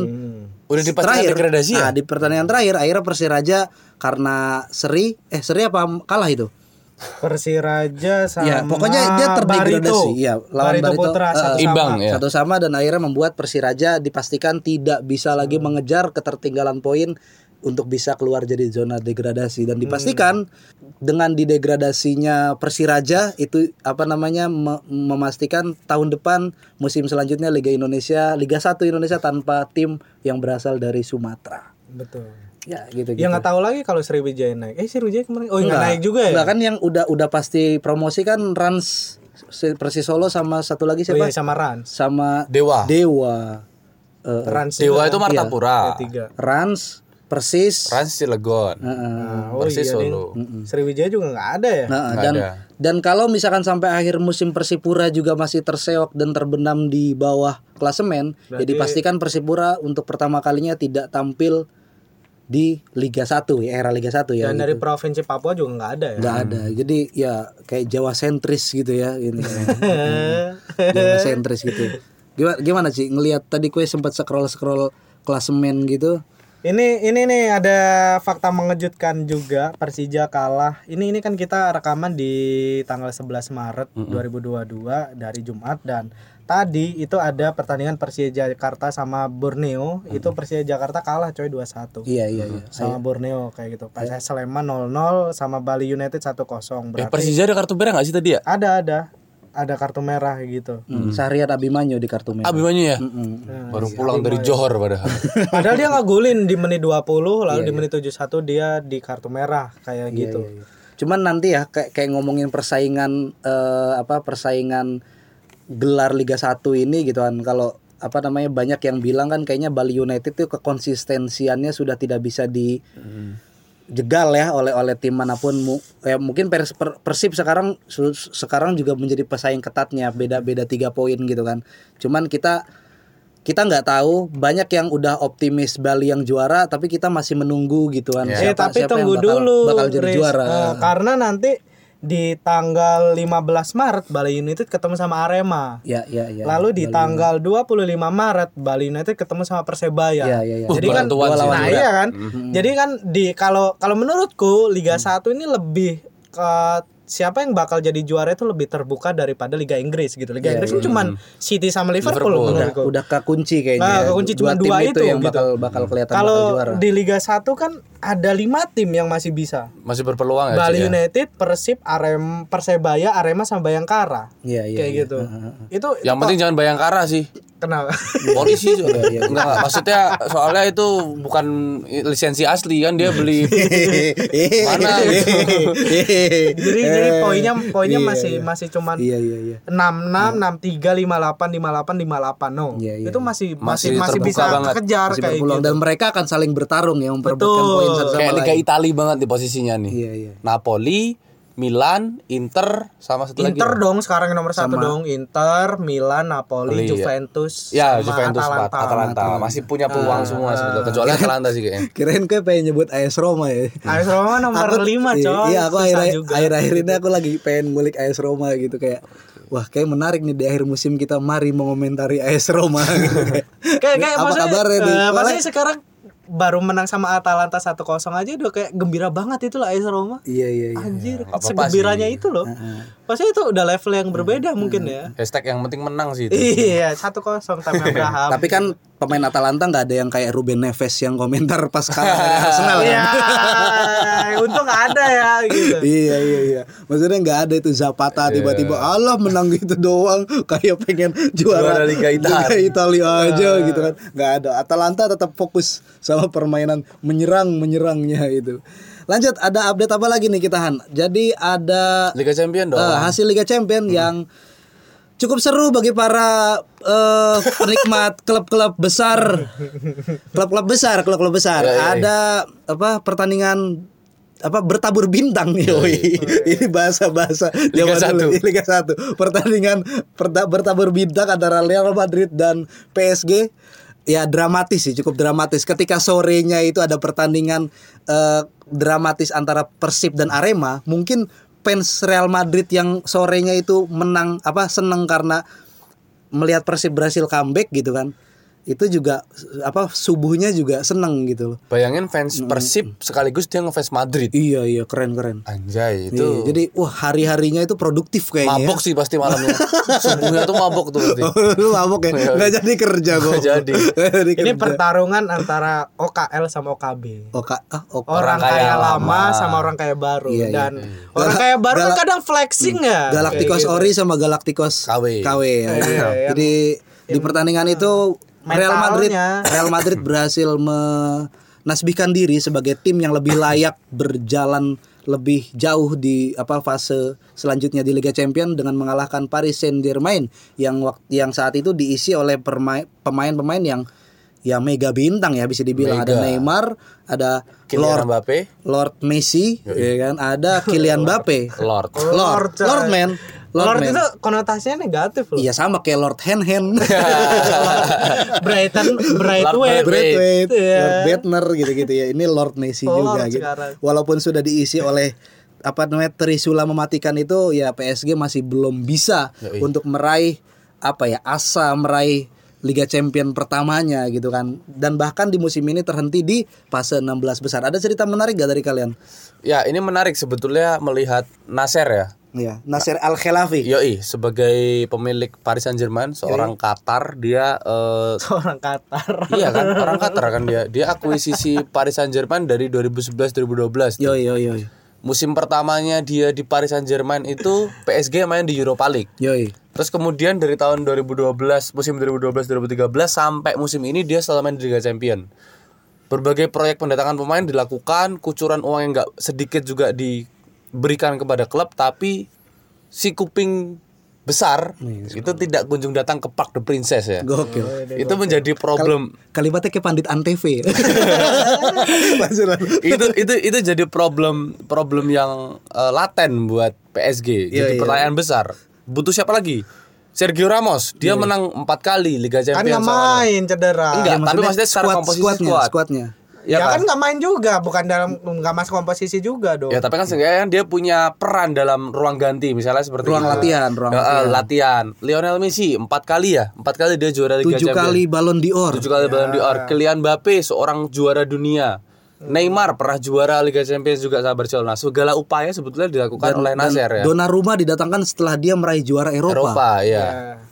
Speaker 1: Udah dipastikan
Speaker 2: terakhir
Speaker 1: degradasi ya?
Speaker 2: Nah, di pertandingan terakhir akhirnya Persiraja karena seri eh seri apa kalah itu?
Speaker 3: Persiraja sama
Speaker 2: Ya, pokoknya dia terdegradasi.
Speaker 3: Barito.
Speaker 2: Iya, lawan
Speaker 3: Barito
Speaker 2: Barito,
Speaker 3: Putra
Speaker 2: eh,
Speaker 3: satu
Speaker 1: imbang
Speaker 3: sama.
Speaker 1: ya.
Speaker 2: Satu sama dan akhirnya membuat Persiraja dipastikan tidak bisa lagi
Speaker 1: Hmm.
Speaker 2: mengejar ketertinggalan poin untuk bisa keluar jadi zona degradasi dan dipastikan dengan didegradasinya Persiraja itu apa namanya me- memastikan tahun depan musim selanjutnya Liga Indonesia Liga 1 Indonesia tanpa tim yang berasal dari Sumatera.
Speaker 3: Betul.
Speaker 2: Ya, gitu gitu.
Speaker 3: Ya nggak tahu lagi kalau Sriwijaya naik. Eh Sriwijaya kemarin oh nggak naik juga ya.
Speaker 2: Enggak kan yang udah udah pasti promosi kan Rans si- Persis Solo sama satu lagi
Speaker 3: Oh,
Speaker 2: siapa?
Speaker 3: iya, sama Rans.
Speaker 2: Sama
Speaker 1: Dewa.
Speaker 2: Dewa. Eh,
Speaker 3: Rans
Speaker 1: Dewa
Speaker 3: juga
Speaker 1: itu Martapura.
Speaker 3: tiga.
Speaker 2: Rans Persis.
Speaker 1: Rans Cilegon.
Speaker 3: Nah,
Speaker 1: Persis
Speaker 3: Ding.
Speaker 1: Solo.
Speaker 3: Hmm. Sriwijaya juga nggak ada ya.
Speaker 2: Nah,
Speaker 1: Nggak
Speaker 2: dan
Speaker 1: ada.
Speaker 2: dan kalau misalkan sampai akhir musim Persipura juga masih terseok dan terbenam di bawah klasemen, ya
Speaker 3: Berarti-
Speaker 2: dipastikan Persipura untuk pertama kalinya tidak tampil di Liga 1 ya era Liga 1 ya.
Speaker 3: Dan
Speaker 2: gitu.
Speaker 3: dari provinsi Papua juga nggak ada ya.
Speaker 2: nggak ada jadi ya kayak Jawa sentris gitu ya ini Jawa sentris gitu gimana gimana sih ngelihat tadi kue sempat scroll scroll klasemen gitu
Speaker 3: Ini ini nih ada fakta mengejutkan juga Persija kalah. Ini ini kan kita rekaman di tanggal 11 Maret 2022 dari Jumat dan tadi itu ada pertandingan Persija Jakarta sama Borneo. Itu Persija Jakarta kalah coy 2-1
Speaker 2: iya iya iya
Speaker 3: sama Borneo kayak gitu. PS Sleman 0-0 sama Bali United
Speaker 1: Eh,
Speaker 3: 1-0. Berarti
Speaker 1: Persija ada kartu merah nggak sih tadi ya?
Speaker 3: ada ada ada kartu merah gitu.
Speaker 2: Sahrian Hmm. Abimanyu di kartu Hmm, merah
Speaker 1: Abimanyu ya?
Speaker 3: Nah,
Speaker 1: Baru pulang dari Johor padahal.
Speaker 3: Padahal dia ngagulin di menit 20
Speaker 2: Iya,
Speaker 3: lalu di menit 71 dia di kartu merah kayak gitu.
Speaker 2: cuman nanti ya kayak kayak ngomongin persaingan eh, apa persaingan gelar Liga 1 ini gitu kan kalau apa namanya banyak yang bilang kan kayaknya Bali United itu kekonsistensiannya sudah tidak bisa di jegal ya oleh oleh tim manapun Mu- ya mungkin Pers- Per- Persib sekarang su- sekarang juga menjadi pesaing ketatnya beda-beda tiga poin gitu kan cuman kita kita nggak tahu banyak yang udah optimis Bali yang juara tapi kita masih menunggu gitu kan
Speaker 3: Eh tapi tunggu
Speaker 2: bakal,
Speaker 3: dulu
Speaker 2: bakal jadi
Speaker 3: Riz.
Speaker 2: juara
Speaker 3: Eh, karena nanti di tanggal 15 Maret Bali United ketemu sama Arema.
Speaker 2: ya ya ya
Speaker 3: Lalu di tanggal 25 Maret Bali United ketemu sama Persebaya.
Speaker 2: Ya, ya, ya.
Speaker 3: Jadi
Speaker 1: Bertuan
Speaker 3: kan dua
Speaker 1: sih.
Speaker 3: lawan nah, iya
Speaker 2: Mm-hmm. Mm.
Speaker 3: kan. Jadi kan di kalau kalau menurutku Liga 1 ini lebih ke siapa yang bakal jadi juara itu lebih terbuka daripada Liga Inggris gitu.
Speaker 2: Iya,
Speaker 3: Liga Inggris kan cuman City sama Liverpool,
Speaker 1: Liverpool.
Speaker 3: menurut
Speaker 2: udah
Speaker 3: gua.
Speaker 2: udah kekunci kayaknya. ya.
Speaker 3: Nah, kekunci
Speaker 2: Dua
Speaker 3: cuma
Speaker 2: tim
Speaker 3: dua itu,
Speaker 2: yang
Speaker 3: gitu.
Speaker 2: bakal bakal kelihatan
Speaker 3: Kalau
Speaker 2: bakal juara.
Speaker 3: di Liga 1 kan ada lima tim yang masih bisa.
Speaker 1: Masih berpeluang
Speaker 2: Ah,
Speaker 1: ya,
Speaker 3: Bali
Speaker 1: Ci, ya?
Speaker 3: United, Persib, Arem, Persebaya, Arema sama Bayangkara.
Speaker 2: Iya, iya.
Speaker 3: kayak
Speaker 2: iya.
Speaker 3: gitu. Itu
Speaker 1: Yang penting jangan Bayangkara sih.
Speaker 3: kenal.
Speaker 1: Polisi juga. Enggak, enggak. maksudnya soalnya itu bukan lisensi asli kan dia beli Mana gitu.
Speaker 3: jadi jadi poinnya poinnya masih masih cuman
Speaker 2: Eh, Iya, iya, iya.
Speaker 3: 66 63 58 58 58 no.
Speaker 2: Iya, iya.
Speaker 3: Itu masih masih
Speaker 1: Masih
Speaker 3: masih
Speaker 1: terbuka
Speaker 3: bisa
Speaker 1: banget.
Speaker 3: kejar
Speaker 2: Masih
Speaker 3: kayak
Speaker 2: berpeluang
Speaker 3: gitu.
Speaker 2: dan mereka akan saling bertarung ya memperebutkan
Speaker 3: Betul.
Speaker 2: poin satu sama
Speaker 1: kayak Liga
Speaker 2: lain.
Speaker 1: Itali banget di posisinya nih.
Speaker 2: Iya, iya.
Speaker 1: Napoli, Milan, Inter sama satu lagi.
Speaker 3: Inter dong sekarang yang nomor satu dong Inter, Milan, Napoli,
Speaker 1: Napoli, ya.
Speaker 3: Juventus,
Speaker 1: Ya,
Speaker 3: sama
Speaker 1: Juventus Atalanta.
Speaker 3: Atalanta.
Speaker 1: Atalanta. Masih punya peluang semua sebetulnya. Kecuali Atalanta sih kayaknya.
Speaker 2: Kirain kayak pengen nyebut AS Roma ya.
Speaker 3: AS Roma Ah, nomor
Speaker 2: Aku-
Speaker 3: lima coy.
Speaker 2: Iya, aku
Speaker 3: Susah
Speaker 2: akhir
Speaker 3: juga.
Speaker 2: akhir akhir ini aku lagi pengen ngulik AS Roma gitu kayak wah kayak menarik nih di akhir musim kita mari mengomentari AS Roma. gitu.
Speaker 3: kayak kayak
Speaker 2: apa
Speaker 3: maksudnya,
Speaker 2: kabarnya
Speaker 3: eh,
Speaker 2: nih?
Speaker 3: maksudnya
Speaker 2: Soalnya-
Speaker 3: sekarang baru menang sama Atalanta 1-0 aja udah kayak gembira banget itu lah AS Roma.
Speaker 2: Iya iya iya.
Speaker 3: Anjir,
Speaker 1: nggak apa-apa
Speaker 3: segembiranya itu loh. Maksudnya itu udah level yang berbeda mungkin ya.
Speaker 1: Hashtag yang penting menang sih itu.
Speaker 3: Iya, satu kosong tapi Abraham.
Speaker 2: Tapi kan pemain Atalanta nggak ada yang kayak Ruben Neves yang komentar pas kalah dari Arsenal kan?
Speaker 3: ya, untung ada ya gitu.
Speaker 2: Iya iya iya. Maksudnya nggak ada itu Zapata
Speaker 1: Iya.
Speaker 2: tiba-tiba Allah menang gitu doang kayak pengen
Speaker 1: Juara
Speaker 2: juara
Speaker 1: Liga Italia. Iya.
Speaker 2: Liga Italia aja gitu kan. Nggak ada. Atalanta tetap fokus sama permainan menyerang menyerangnya itu. Lanjut ada update apa lagi nih kita Han? Jadi ada
Speaker 1: Liga Champion dong. Hmm.
Speaker 2: eh, hasil Liga Champion yang cukup seru bagi para eh, penikmat klub-klub besar, klub-klub besar, klub-klub besar. Ada apa pertandingan apa bertabur bintang nih, woi. ini bahasa-bahasa Liga
Speaker 1: satu.
Speaker 2: Liga 1. Pertandingan perta- bertabur bintang antara Real Madrid dan PSG ya dramatis sih, cukup dramatis. Ketika sorenya itu ada pertandingan eh, dramatis antara Persib dan Arema, mungkin fans Real Madrid yang sorenya itu menang apa seneng karena melihat Persib berhasil comeback gitu kan. Itu juga apa subuhnya juga seneng gitu loh.
Speaker 1: Bayangin fans Persib sekaligus dia ngefans Madrid.
Speaker 2: Iya iya keren-keren.
Speaker 1: Anjay itu.
Speaker 2: Iya, jadi wah hari-harinya itu produktif kayaknya. ya.
Speaker 1: mabok sih pasti malamnya. Subuhnya tuh mabok tuh pasti.
Speaker 2: Lu mabok ya? Nggak jadi kerja gue
Speaker 1: Iya. Nggak jadi.
Speaker 3: Ini pertarungan antara OKL sama OKB.
Speaker 2: Oka, ah, oka.
Speaker 1: Orang
Speaker 3: Orang, kaya,
Speaker 1: kaya
Speaker 3: lama sama orang kaya baru
Speaker 2: Iya, iya.
Speaker 3: dan orang kaya baru kan kadang flexing ya.
Speaker 2: Galacticos
Speaker 3: Kayak gitu.
Speaker 2: Ori sama Galacticos
Speaker 1: KW.
Speaker 2: ya. Jadi di pertandingan itu Real
Speaker 3: mentalnya.
Speaker 2: Madrid Real Madrid berhasil menasbihkan diri sebagai tim yang lebih layak berjalan lebih jauh di apa fase selanjutnya di Liga Champions dengan mengalahkan Paris Saint-Germain yang waktu yang saat itu diisi oleh perma- pemain-pemain yang ya mega bintang ya bisa dibilang ada Neymar, ada Lord
Speaker 1: Kylian Mbappe,
Speaker 2: Lord Messi, ya kan? Ada Kylian Mbappe,
Speaker 1: Lord.
Speaker 2: Lord,
Speaker 3: coy.
Speaker 2: Lord man, Lord,
Speaker 3: Lord
Speaker 2: man.
Speaker 3: itu konotasinya negatif loh.
Speaker 2: Iya sama kayak Lord Hand Hand,
Speaker 3: Iya, Brighton Brightway.
Speaker 1: Lord
Speaker 2: Braithwaite,
Speaker 3: Iya.
Speaker 2: Lord Bettner gitu-gitu ya. Ini Lord Messi
Speaker 3: Lord
Speaker 2: juga gitu.
Speaker 3: sekarang.
Speaker 2: Walaupun sudah diisi oleh apa namanya Trisula mematikan itu, ya PSG masih belum bisa untuk meraih apa ya asa meraih Liga Champion pertamanya gitu kan. Dan bahkan di musim ini terhenti di fase 16 besar. Ada cerita menarik gak dari kalian?
Speaker 1: Ya, ini menarik sebetulnya melihat Nasser ya.
Speaker 2: Iya, Nasir Al
Speaker 3: Iya.
Speaker 2: Khelafi.
Speaker 1: Yoi, sebagai pemilik Paris Saint-Germain, seorang Qatar, dia eh,
Speaker 3: Orang Qatar.
Speaker 1: iya kan orang Qatar kan dia. Dia akuisisi Paris Saint-Germain dari 2011-2012.
Speaker 2: Yo yo yo. yo.
Speaker 1: Musim pertamanya dia di Paris Saint-Germain itu PSG main di Europa League.
Speaker 2: Yoi.
Speaker 1: Terus kemudian dari tahun 2012, musim 2012-2013 sampai musim ini dia selalu main di Liga Champion. Berbagai proyek pendatangan pemain dilakukan, kucuran uang yang nggak sedikit juga diberikan kepada klub, tapi si kuping besar itu tidak kunjung datang ke Park the Princess ya.
Speaker 2: Gokil.
Speaker 1: Itu menjadi problem.
Speaker 2: Kalimatnya kayak pandit antv.
Speaker 1: itu itu itu jadi problem problem yang eh, laten buat PSG.
Speaker 2: Iya,
Speaker 1: jadi
Speaker 2: iya.
Speaker 1: pertanyaan besar. Butuh siapa lagi? Sergio Ramos, dia menang empat kali Liga
Speaker 3: Kan
Speaker 1: Champions.
Speaker 3: nggak
Speaker 1: sama-
Speaker 3: main cedera.
Speaker 1: Enggak, tapi maksudnya secara komposisi
Speaker 2: squadnya,
Speaker 1: squad.
Speaker 2: squadnya.
Speaker 1: Ya,
Speaker 3: ya
Speaker 1: kan?
Speaker 3: kan nggak main juga, bukan dalam nggak masuk komposisi juga dong.
Speaker 1: Ya tapi kan seenggaknya kan dia punya peran dalam ruang ganti misalnya seperti
Speaker 2: Ruang
Speaker 1: itu.
Speaker 2: latihan, ruang
Speaker 1: Ya, eh, latihan. Lionel Messi empat kali ya, empat kali dia juara Liga
Speaker 2: Tujuh
Speaker 1: Champions.
Speaker 2: kali balon dior.
Speaker 1: Tujuh kali Ballon d'Or. Kylian Mbappe seorang juara dunia. Neymar pernah juara Liga Champions juga sama Barcelona. Segala upaya sebetulnya dilakukan oleh Nasir ya.
Speaker 2: Donnarumma didatangkan setelah dia meraih juara Eropa.
Speaker 1: Eropa ya.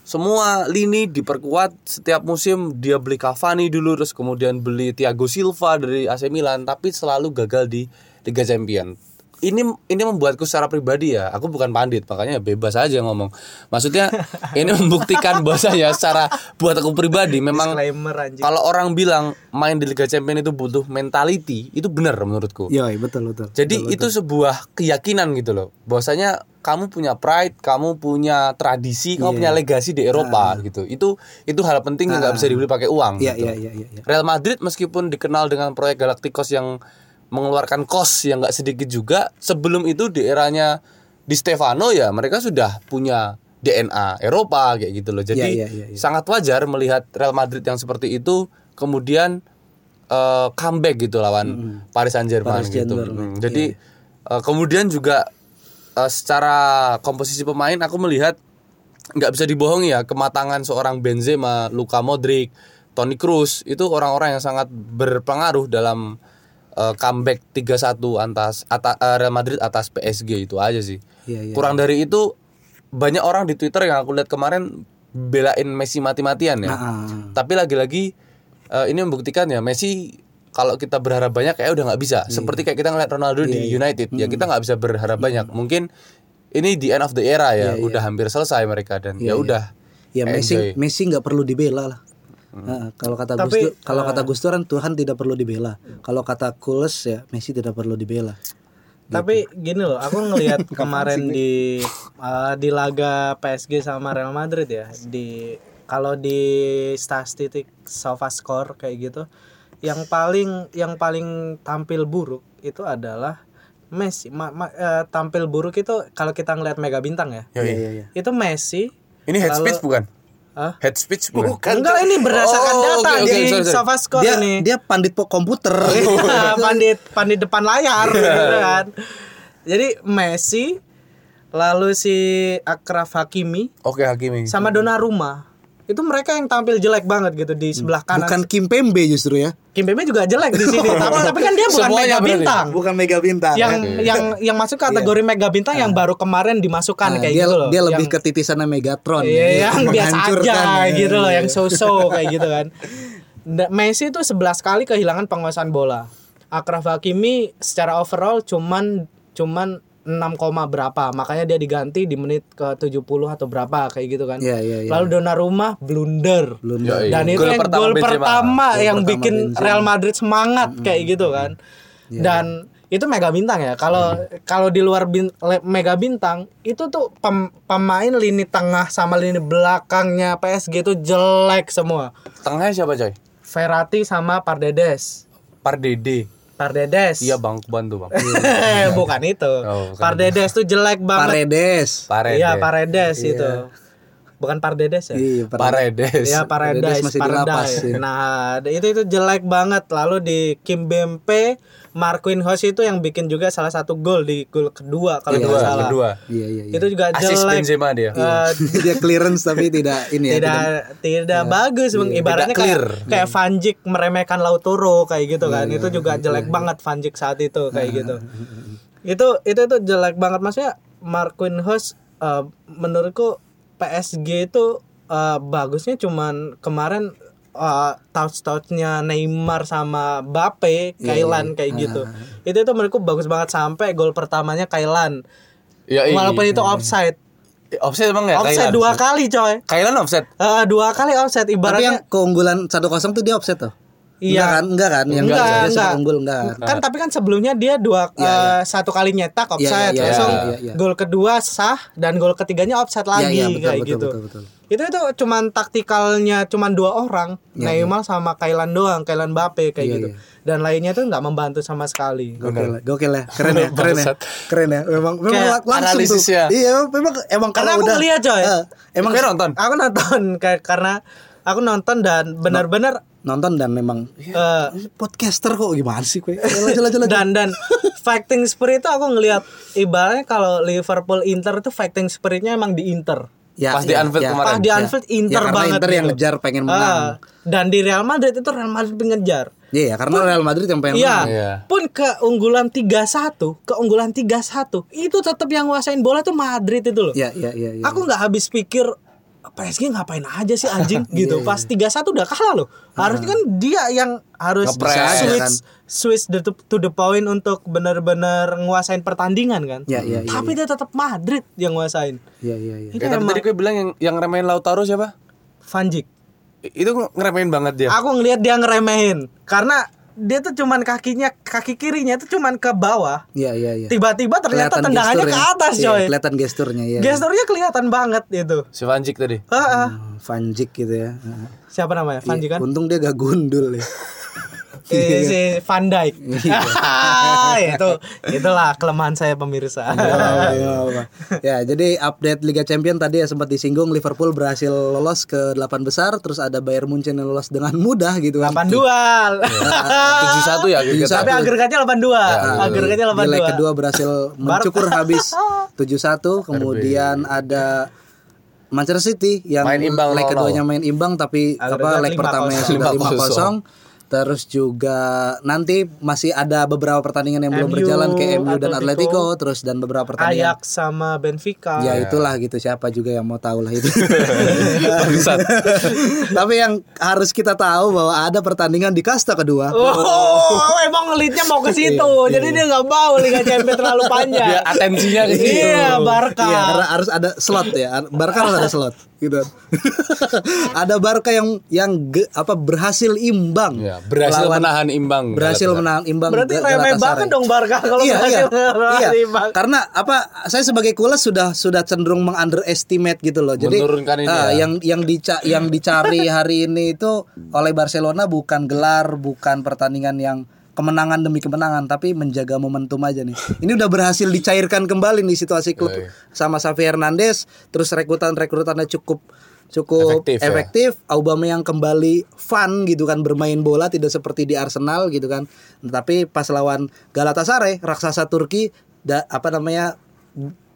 Speaker 1: Semua lini diperkuat setiap musim dia beli Cavani dulu terus kemudian beli Thiago Silva dari AC Milan tapi selalu gagal di Liga Champions. Ini ini membuatku secara pribadi ya, aku bukan pandit makanya bebas aja ngomong. Maksudnya ini membuktikan bahwasanya secara buat aku pribadi memang
Speaker 3: Disclaimer anjing.
Speaker 1: kalau orang bilang main di Liga Champions itu butuh mentality, itu benar menurutku.
Speaker 2: Yoi, betul betul.
Speaker 1: Jadi itu sebuah keyakinan gitu loh. Bahwasanya kamu punya pride, kamu punya tradisi,
Speaker 2: Iya,
Speaker 1: kamu punya legasi di Eropa gitu. Itu itu hal penting yang nggak bisa dibeli pakai uang.
Speaker 2: Ah. Iya
Speaker 1: gitu.
Speaker 2: iya iya iya. iya.
Speaker 1: Real Madrid meskipun dikenal dengan proyek Galacticos yang mengeluarkan kos yang nggak sedikit juga, sebelum itu di eranya di Stefano ya mereka sudah punya DNA Eropa kayak gitu loh. Jadi
Speaker 2: Iya, iya, iya, iya.
Speaker 1: sangat wajar melihat Real Madrid yang seperti itu kemudian eh, comeback gitu lawan Paris Saint Germain
Speaker 2: Paris
Speaker 1: gitu.
Speaker 2: Saint-Germain,
Speaker 1: Mm,
Speaker 2: Iya.
Speaker 1: Jadi eh, kemudian juga eh, secara komposisi pemain aku melihat nggak bisa dibohongi ya kematangan seorang Benzema, Luka Modric, Toni Kroos itu orang-orang yang sangat berpengaruh dalam eh, comeback 3-1 atas ata- eh, Real Madrid atas PSG itu aja sih.
Speaker 2: Iya, iya.
Speaker 1: Kurang dari itu banyak orang di Twitter yang aku lihat kemarin belain Messi mati-matian ya.
Speaker 2: Ah.
Speaker 1: Tapi lagi-lagi eh, ini membuktikan ya Messi kalau kita berharap banyak kayak udah nggak bisa. Seperti kayak kita ngeliat Ronaldo di United ya kita nggak bisa berharap banyak. Mungkin ini di end of the era ya, udah hampir selesai mereka dan ya udah.
Speaker 2: Ya Messi
Speaker 1: Enjoy. Hmm.
Speaker 2: Messi nggak perlu dibela lah. Nah, kalau kata Gus
Speaker 3: Tapi, eh,
Speaker 2: Dur- kalau kata Gus Dur kan Tuhan tidak perlu dibela. Kalau kata Kules ya Messi tidak perlu dibela.
Speaker 3: Tapi gini loh, aku ngelihat kemarin di eh, di laga PSG sama Real Madrid ya, di kalau di statistik SofaScore kayak gitu, yang paling yang paling tampil buruk itu adalah Messi. Ma- ma- eh, tampil buruk itu kalau kita ngelihat mega bintang ya,
Speaker 2: Iya,
Speaker 1: Yoi.
Speaker 3: itu Messi.
Speaker 1: Ini head speech bukan?
Speaker 3: Hah?
Speaker 1: Head speech bukan?
Speaker 3: Enggak ini berdasarkan
Speaker 1: Kan Oh,
Speaker 3: data
Speaker 1: oke, oke,
Speaker 3: di
Speaker 1: sorry, sorry.
Speaker 3: SofaScore
Speaker 2: Dia
Speaker 3: ini.
Speaker 2: dia pandit po komputer.
Speaker 3: Nah, pandit pandit depan layar
Speaker 1: Iya.
Speaker 3: gitu kan. Jadi Messi lalu si Akraf Hakimi
Speaker 1: Oke Hakimi.
Speaker 3: sama Donnarumma itu mereka yang tampil jelek banget gitu di sebelah kanan.
Speaker 2: Bukan Kim Pembe justru ya.
Speaker 3: Kimpembe juga jelek di sini. tapi, tapi kan dia bukan
Speaker 1: Semuanya
Speaker 3: mega
Speaker 1: berarti. Iya.
Speaker 3: bintang.
Speaker 2: Bukan mega bintang.
Speaker 3: Yang yang yang masuk kategori mega bintang yang baru kemarin
Speaker 1: Iya,
Speaker 3: dimasukkan kayak
Speaker 2: dia,
Speaker 3: gitu loh.
Speaker 2: dia lebih
Speaker 3: Yang-
Speaker 2: ke titisannya Megatron.
Speaker 3: Iya, yang biasa aja
Speaker 2: Menghancurkan. ya.
Speaker 3: gitu loh, yang so-so kayak gitu kan. Da- Messi itu 11 kali kehilangan penguasaan bola. Akraf Hakimi secara overall cuman cuman 6, koma berapa. Makanya dia diganti di menit ke 70 atau berapa kayak gitu kan.
Speaker 2: Iya, iya, iya.
Speaker 3: Lalu Donnarumma blunder.
Speaker 2: Blunder.
Speaker 1: Yoi.
Speaker 3: Dan itu
Speaker 1: Gol
Speaker 3: yang
Speaker 1: pertama
Speaker 3: gol
Speaker 1: Benzema.
Speaker 3: pertama
Speaker 2: Gol
Speaker 3: yang
Speaker 2: pertama
Speaker 3: bikin
Speaker 2: Benzema.
Speaker 3: Real Madrid semangat kayak gitu kan. Dan itu mega bintang ya. Kalau kalau di luar bin- le- mega bintang itu tuh pem- pemain lini tengah sama lini belakangnya PSG itu jelek semua.
Speaker 1: Tengahnya siapa coy?
Speaker 3: Ferrati sama Pardedes.
Speaker 1: Pardede.
Speaker 3: Pardedes.
Speaker 1: Iya bang, Kuban tuh bang.
Speaker 3: bukan itu.
Speaker 1: Oh, bukan.
Speaker 3: Pardedes tuh jelek banget.
Speaker 2: Paredes.
Speaker 1: Parede.
Speaker 3: Iya, Paredes itu. Bukan Pardedes ya?
Speaker 2: Iya, Paredes.
Speaker 1: Paredes.
Speaker 3: Ya
Speaker 2: Paradise
Speaker 3: Paradise,
Speaker 2: masih di
Speaker 3: Paradise.
Speaker 2: lapas, ya.
Speaker 3: Nah, itu itu jelek banget. Lalu di Kim Bempe, Marquin Hoss itu yang bikin juga salah satu gol di gol kedua kalau
Speaker 1: Kedua,
Speaker 3: nggak salah.
Speaker 1: kedua.
Speaker 2: Iya, iya, iya.
Speaker 3: Itu juga
Speaker 1: Asis
Speaker 3: jelek.
Speaker 1: Benzema dia.
Speaker 3: Eh,
Speaker 2: dia clearance tapi tidak ini ya.
Speaker 3: tidak tidak bagus Bang. ibaratnya
Speaker 1: ya. Tidak clear. Iya,
Speaker 3: kayak kayak Vanjik meremehkan Lautaro kayak gitu kan itu juga jelek banget Vanjik saat itu kayak
Speaker 1: Nah,
Speaker 3: gitu itu itu itu jelek banget maksudnya Marquin Hoss eh, menurutku PSG itu eh, bagusnya cuman kemarin eh, touch-touchnya Neymar sama
Speaker 1: Iya,
Speaker 3: Bape
Speaker 1: Ah,
Speaker 3: Kailan kayak gitu itu itu menurutku bagus banget sampai gol pertamanya Kailan
Speaker 1: Ya, iya.
Speaker 3: walaupun itu offside
Speaker 1: offset emang ya? Kailan?
Speaker 3: offside dua kali coy
Speaker 1: Kailan offset.
Speaker 3: Eh, dua kali offset
Speaker 2: Tapi yang
Speaker 3: ibaratnya
Speaker 2: keunggulan 1-0 tuh dia offset tuh. Enggak
Speaker 3: iya
Speaker 2: kan? Enggak kan? Yang
Speaker 3: Enggak,
Speaker 2: dia
Speaker 3: enggak.
Speaker 2: sepak unggul enggak kan?
Speaker 3: kan tapi kan sebelumnya dia dua eh, satu kali nyetak offside
Speaker 2: iya, iya,
Speaker 3: langsung
Speaker 2: iya, iya.
Speaker 3: gol kedua sah dan gol ketiganya offside lagi
Speaker 2: iya, betul,
Speaker 3: kayak
Speaker 2: betul,
Speaker 3: gitu
Speaker 2: betul, betul.
Speaker 3: itu itu cuman taktikalnya cuman dua orang
Speaker 2: Iya,
Speaker 3: Neymar sama Kailan doang Kailan Bape kayak gitu dan lainnya tuh nggak membantu sama sekali
Speaker 2: Gokil, ya, gokil ya, keren ya, keren ya, keren ya. Memang, memang
Speaker 3: Kayak
Speaker 2: langsung
Speaker 1: analisisnya.
Speaker 2: tuh. Iya, memang, memang emang
Speaker 3: Karena
Speaker 2: kalau
Speaker 3: aku
Speaker 2: udah
Speaker 3: ngeliat, coy.
Speaker 2: Eh, emang
Speaker 1: Emang nonton?
Speaker 3: aku nonton kayak karena aku nonton dan benar-benar
Speaker 2: nonton dan memang
Speaker 3: eh,
Speaker 2: podcaster kok gimana sih Eh, kue? Jalan,
Speaker 1: Nah,
Speaker 2: jalan, jalan.
Speaker 3: dan dan fighting spirit itu aku ngelihat ibaratnya kalau Liverpool Inter tuh fighting spiritnya emang di Inter.
Speaker 2: Ya,
Speaker 1: Pas di Anfield kemarin.
Speaker 3: Ah di Anfield
Speaker 2: ya,
Speaker 3: Inter
Speaker 2: karena
Speaker 3: banget.
Speaker 2: Inter yang
Speaker 3: gitu.
Speaker 2: ngejar pengen menang.
Speaker 3: Ah, dan di Real Madrid itu Real Madrid pengejar.
Speaker 2: Iya, ya, karena Real Madrid yang pengen
Speaker 3: Iya,
Speaker 1: Iya.
Speaker 3: pun keunggulan 3-1, keunggulan 3-1 itu tetap yang nguasain bola tuh Madrid itu loh.
Speaker 2: Iya, iya, iya. iya.
Speaker 3: Aku nggak habis pikir PSG ngapain aja sih anjing
Speaker 2: Iya,
Speaker 3: gitu. Pas 3-1 udah kalah loh. Harusnya kan dia yang harus
Speaker 1: Ngepres.
Speaker 2: ya kan?
Speaker 3: switch switch the, to the point untuk benar-benar nguasain pertandingan kan.
Speaker 2: Iya, iya, iya,
Speaker 3: Tapi dia tetap Madrid yang nguasain.
Speaker 2: Iya, iya, iya.
Speaker 3: Itu
Speaker 1: Ya, tapi
Speaker 3: emang
Speaker 1: tadi gue bilang yang yang remehin Lautaro siapa?
Speaker 3: Van Dijk.
Speaker 1: I- Itu ngeremehin banget
Speaker 2: Iya.
Speaker 1: dia.
Speaker 3: Aku ngelihat dia ngeremehin karena dia tuh cuman kakinya kaki kirinya tuh cuman ke bawah.
Speaker 2: Iya, iya, iya.
Speaker 3: Tiba-tiba ternyata
Speaker 2: Kelihatan
Speaker 3: tendangannya ke
Speaker 2: gesturnya.
Speaker 3: atas
Speaker 2: Iya, Hmm.
Speaker 3: coy.
Speaker 2: kelihatan gesturnya ya.
Speaker 3: Gesturnya kelihatan banget itu.
Speaker 1: Si Vanjik tadi.
Speaker 3: Heeh.
Speaker 2: Vanjik gitu ya. Heeh.
Speaker 3: Siapa namanya? Van Dijk kan?
Speaker 2: Untung dia gak gundul ya. Iya.
Speaker 3: Eh, si Van Dijk. itu itulah kelemahan saya pemirsa.
Speaker 2: Iya, Pak. ya, jadi update Liga Champion tadi ya sempat disinggung Liverpool berhasil lolos ke 8 besar, terus ada Bayern Munchen yang lolos dengan mudah gitu kan.
Speaker 3: 82.
Speaker 2: Iya.
Speaker 1: 71 ya gitu.
Speaker 3: Tapi agregatnya 82. agregatnya
Speaker 2: Di leg
Speaker 3: 82.
Speaker 2: Iya. kedua berhasil mencukur habis 7-1, kemudian ada Manchester City yang
Speaker 1: Main imbang
Speaker 2: leg
Speaker 1: 0-0.
Speaker 2: keduanya main imbang tapi apa
Speaker 3: Agregat
Speaker 2: leg pertamanya
Speaker 3: 5-0.
Speaker 2: sudah 5-0. Terus juga nanti masih ada beberapa pertandingan yang belum
Speaker 3: MU,
Speaker 2: berjalan ke MU dan
Speaker 3: Atletico.
Speaker 2: Atletico terus dan beberapa pertandingan
Speaker 3: Ayak sama Benfica.
Speaker 2: ya itulah gitu siapa juga yang mau tahu lah itu
Speaker 1: Bangsat.
Speaker 2: tapi yang harus kita tahu bahwa ada pertandingan di kasta kedua
Speaker 3: Oh, emang ngelitnya mau ke
Speaker 2: Iya,
Speaker 3: situ. Jadi dia nggak mau Liga Champions terlalu panjang.
Speaker 1: Dia atensinya ke situ.
Speaker 3: Iya, Barca.
Speaker 2: Iya, karena harus ada slot ya. Barca harus ada slot gitu. ada Barca yang yang ge- apa berhasil imbang.
Speaker 1: Ya, berhasil
Speaker 2: Lawan-
Speaker 1: menahan imbang.
Speaker 2: berhasil menahan imbang.
Speaker 3: Berarti
Speaker 2: Gal-
Speaker 3: remeh
Speaker 2: Galatasaray.
Speaker 3: banget dong Barca kalau
Speaker 2: iya, iya,
Speaker 3: berhasil
Speaker 2: iya.
Speaker 3: menahan imbang.
Speaker 2: Karena apa? Saya sebagai kulas sudah sudah cenderung mengunderestimate gitu loh. Jadi
Speaker 1: Menurunkan ini
Speaker 2: ah,
Speaker 1: ya.
Speaker 2: yang yang dica yang dicari hari ini itu oleh Barcelona bukan gelar, bukan pertandingan yang kemenangan demi kemenangan, tapi menjaga momentum aja nih. Ini udah berhasil dicairkan kembali nih situasi klub
Speaker 1: Iya, iya.
Speaker 2: sama Xavi Hernandez, terus rekrutan rekrutannya cukup cukup
Speaker 1: Efektif
Speaker 2: efektif,
Speaker 1: ya.
Speaker 2: Aubameyang kembali fun gitu kan bermain bola tidak seperti di Arsenal gitu kan. Tapi pas lawan Galatasaray raksasa Turki da- apa namanya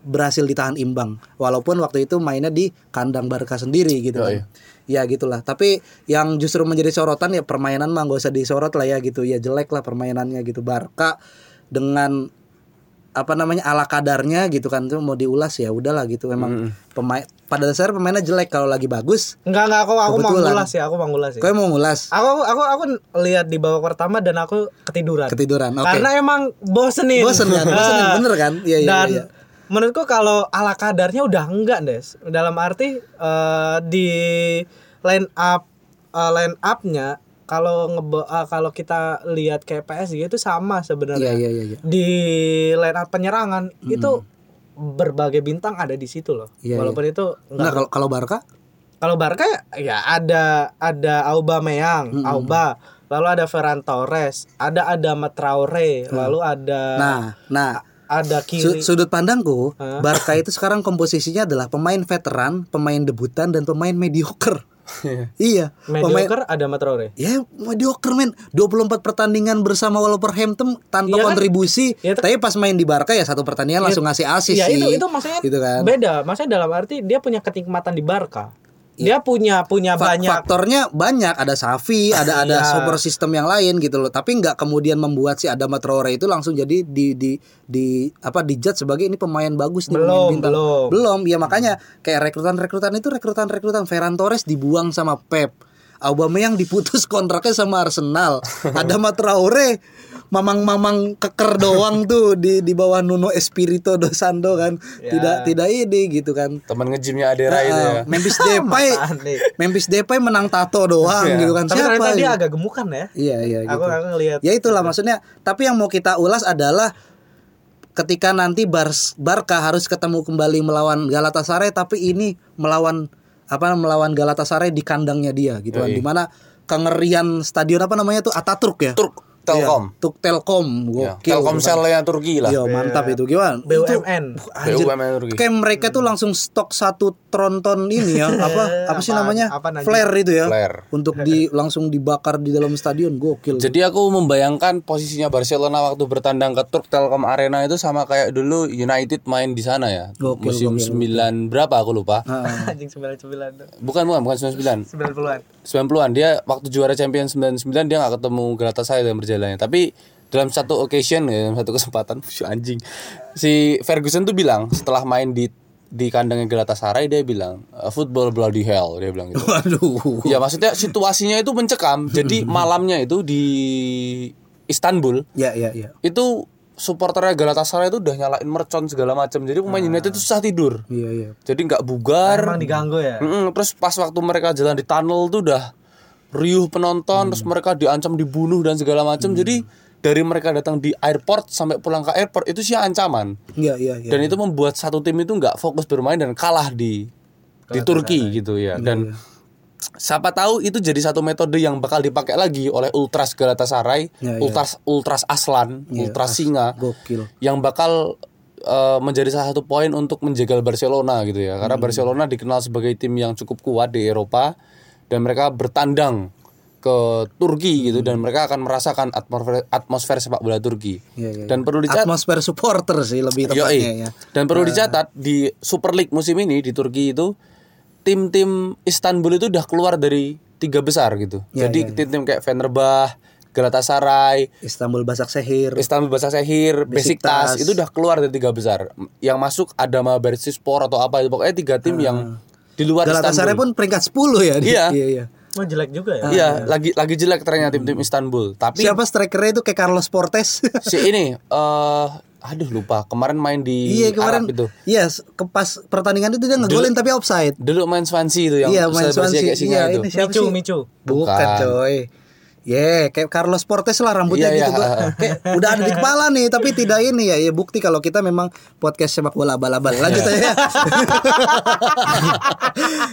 Speaker 2: berhasil ditahan imbang walaupun waktu itu mainnya di kandang Barca sendiri gitu
Speaker 1: Yoi.
Speaker 2: kan. Ya gitulah. Tapi yang justru menjadi sorotan ya permainan mah nggak usah disorot lah ya gitu. Ya jelek lah permainannya gitu. Barca dengan apa namanya ala kadarnya gitu kan tuh mau diulas ya udahlah gitu emang pemain pada dasarnya pemainnya jelek kalau lagi bagus
Speaker 3: Enggak enggak aku aku mau
Speaker 2: Kebetulan.
Speaker 3: ngulas ya, aku mau ngulas ya.
Speaker 2: kau mau ngulas
Speaker 3: Aku aku aku lihat di babak pertama dan aku ketiduran.
Speaker 2: ketiduran oke
Speaker 3: Karena emang bosenin.
Speaker 2: bosen kan bosen
Speaker 3: Ah.
Speaker 2: bener kan iya iya
Speaker 3: dan
Speaker 2: iya
Speaker 3: menurutku kalau ala kadarnya udah enggak des dalam arti eh, di line up eh, line upnya kalau ngebe- eh, kalau kita lihat kayak PSG itu sama
Speaker 2: iya
Speaker 3: sebenarnya
Speaker 2: iya iya iya.
Speaker 3: di line up penyerangan itu berbagai bintang ada di situ loh
Speaker 2: Hmm. Iya,
Speaker 3: walaupun itu
Speaker 2: Nah,
Speaker 3: enggak
Speaker 2: kalau kalau Barca
Speaker 3: kalau Barca ya ada ada
Speaker 2: Hmm,
Speaker 3: Aubameyang Auba lalu ada Ferran Torres ada Adama Traore lalu ada
Speaker 2: Hmm. nah nah
Speaker 3: ada
Speaker 2: su-
Speaker 3: kiri
Speaker 2: sudut pandangku
Speaker 3: Hah?
Speaker 2: Barca itu sekarang komposisinya adalah pemain veteran pemain debutan dan pemain mediocre iya pemain
Speaker 3: mediocre ada Matraore.
Speaker 2: Ya mediocre men 24 pertandingan bersama Wolverhampton tanpa
Speaker 3: Iya kan?
Speaker 2: kontribusi
Speaker 3: Iya, tapi-
Speaker 2: Tapi pas main di Barca ya satu pertandingan langsung ngasih asis
Speaker 3: Ya
Speaker 2: sih
Speaker 3: itu itu maksudnya
Speaker 2: Gitu kan
Speaker 3: beda. Maksudnya dalam arti dia punya kenikmatan di Barca. Dia punya punya
Speaker 2: Iya. Fa-
Speaker 3: banyak
Speaker 2: Faktornya banyak Ada Safi Ada ada
Speaker 3: Iya.
Speaker 2: super sistem yang lain gitu loh Tapi nggak kemudian membuat si Adama Traore itu langsung jadi di di di apa dijat sebagai ini pemain bagus nih, pemain
Speaker 3: Belum, belum.
Speaker 2: belum ya makanya kayak rekrutan-rekrutan itu rekrutan-rekrutan Ferran Torres dibuang sama Pep Aubameyang diputus kontraknya sama Arsenal ada Traore mamang-mamang keker doang tuh di di bawah Nuno Espirito dos Santo kan
Speaker 3: Iya.
Speaker 2: tidak tidak ini gitu kan
Speaker 1: Teman ngejimnya Adera itu
Speaker 2: Ah,
Speaker 1: ya.
Speaker 2: Memphis Depay
Speaker 3: Apaan nih?
Speaker 2: Memphis Depay menang tato doang gitu kan
Speaker 3: Iya. Tapi
Speaker 2: siapa
Speaker 3: ternyata dia
Speaker 2: gitu.
Speaker 3: agak gemukan ya.
Speaker 2: iya iya
Speaker 3: Aku
Speaker 2: gitu
Speaker 3: aku ngelihat
Speaker 2: ya itulah maksudnya tapi yang mau kita ulas adalah ketika nanti Bars Barca harus ketemu kembali melawan Galatasaray tapi ini melawan apa melawan Galatasaray di kandangnya dia gitu kan dimana kengerian stadion apa namanya tuh Ataturk ya
Speaker 1: Turk. Telkom.
Speaker 2: Tuk
Speaker 1: Ya.
Speaker 2: Telkom,
Speaker 3: Iya,
Speaker 2: gokil.
Speaker 1: Telkomselnya Turki lah.
Speaker 2: Iya, mantap itu gimana? Itu-
Speaker 3: BUMN.
Speaker 2: Wah, anjir.
Speaker 1: BUMN Turki.
Speaker 2: Kayak mereka tuh langsung stok satu tronton ini ya, apa apa sih
Speaker 3: Apaan?
Speaker 2: namanya?
Speaker 3: Apaan aja?
Speaker 2: Flare itu ya.
Speaker 1: Flare.
Speaker 2: Untuk di langsung dibakar di dalam stadion, gokil.
Speaker 1: Jadi aku membayangkan posisinya Barcelona waktu bertandang ke Turk Telkom Arena itu sama kayak dulu United main di sana ya.
Speaker 2: Gokil,
Speaker 1: Musim 9 berapa aku lupa.
Speaker 2: Heeh.
Speaker 3: Anjing 99
Speaker 1: Bukan bukan bukan 99.
Speaker 3: 90-an.
Speaker 1: 90-an dia waktu juara champion 99 dia nggak ketemu Galatasaray dalam perjalanannya. Tapi dalam satu occasion ya, dalam satu kesempatan si anjing si Ferguson tuh bilang setelah main di di kandangnya Galatasaray dia bilang "Eh, football bloody hell dia bilang gitu.
Speaker 2: Waduh.
Speaker 1: Ya maksudnya situasinya itu mencekam. Jadi malamnya itu di Istanbul
Speaker 2: Ya ya ya.
Speaker 1: itu supporternya Galatasaray itu udah nyalain mercon segala macam. Jadi pemain United itu susah tidur.
Speaker 2: Iya iya.
Speaker 1: Jadi nggak bugar.
Speaker 3: Emang diganggu ya?
Speaker 2: kan?
Speaker 1: Mm-mm, terus pas waktu mereka jalan di tunnel tuh udah riuh
Speaker 2: Hmm.
Speaker 1: penonton, terus mereka diancam dibunuh dan segala macam. Jadi dari mereka datang di airport sampai pulang ke airport itu sih ancaman.
Speaker 2: Iya iya iya.
Speaker 1: Dan itu membuat satu tim itu nggak fokus bermain dan kalah di di Turki gitu
Speaker 2: Iya,
Speaker 1: ya. Dan siapa tahu itu jadi satu metode yang bakal dipakai lagi oleh ultras Galatasaray,
Speaker 2: Ya, ya.
Speaker 1: ultras ultras Aslan,
Speaker 2: Iya,
Speaker 1: ultras Singa
Speaker 2: Gokil.
Speaker 1: yang bakal eh, menjadi salah satu poin untuk menjegal Barcelona gitu ya. Karena
Speaker 2: Hmm.
Speaker 1: Barcelona dikenal sebagai tim yang cukup kuat di Eropa dan mereka bertandang ke Turki gitu dan mereka akan merasakan atmosfer atmosfer sepak bola Turki.
Speaker 2: Hmm. Iya, iya,
Speaker 1: Dan perlu dicatat
Speaker 2: Atmosfer supporter sih lebih
Speaker 1: Yoi.
Speaker 2: tepatnya ya.
Speaker 1: Dan perlu dicatat di Super League musim ini di Turki itu tim-tim Istanbul itu udah keluar dari tiga besar gitu.
Speaker 2: Ya,
Speaker 1: Jadi
Speaker 2: ya, ya.
Speaker 1: tim-tim kayak Fenerbah, Galatasaray,
Speaker 2: Istanbul Basak Sehir.
Speaker 1: Istanbul Basaksehir,
Speaker 2: Besiktas.
Speaker 1: Besiktas itu udah keluar dari tiga besar. Yang masuk ada Mabersispor atau apa itu pokoknya tiga tim yang di luar
Speaker 2: Ah. Galatasaray
Speaker 1: Istanbul.
Speaker 2: pun peringkat 10 ya. di-
Speaker 1: Iya.
Speaker 2: iya, iya.
Speaker 3: Oh jelek juga ya.
Speaker 1: Iya, lagi lagi jelek trennya
Speaker 2: Hmm.
Speaker 1: tim-tim Istanbul. Tapi
Speaker 2: Siapa strikernya itu kayak Carlos Portes?
Speaker 1: si ini eh aduh lupa, kemarin main di
Speaker 2: Iya kemarin
Speaker 1: Arab itu.
Speaker 2: Iya s- ke pas pertandingan itu dia ngegolin tapi offside
Speaker 1: Dulu main Swansea itu yang
Speaker 2: Iya main
Speaker 1: selebrasi
Speaker 2: Swansea
Speaker 1: kayak singa
Speaker 2: Iya
Speaker 1: itu.
Speaker 2: ini siapa
Speaker 3: Micu,
Speaker 2: sih?
Speaker 3: Micu.
Speaker 2: Bukan,
Speaker 1: Bukan.
Speaker 2: coy Ye, kayak Carlos Portes lah rambutnya
Speaker 1: Iya,
Speaker 2: gitu
Speaker 1: iya.
Speaker 2: gua. Kayak udah ada di kepala nih, tapi tidak ini ya. Ya bukti kalau kita memang podcast sepak bola abal-abal. Lanjut aja.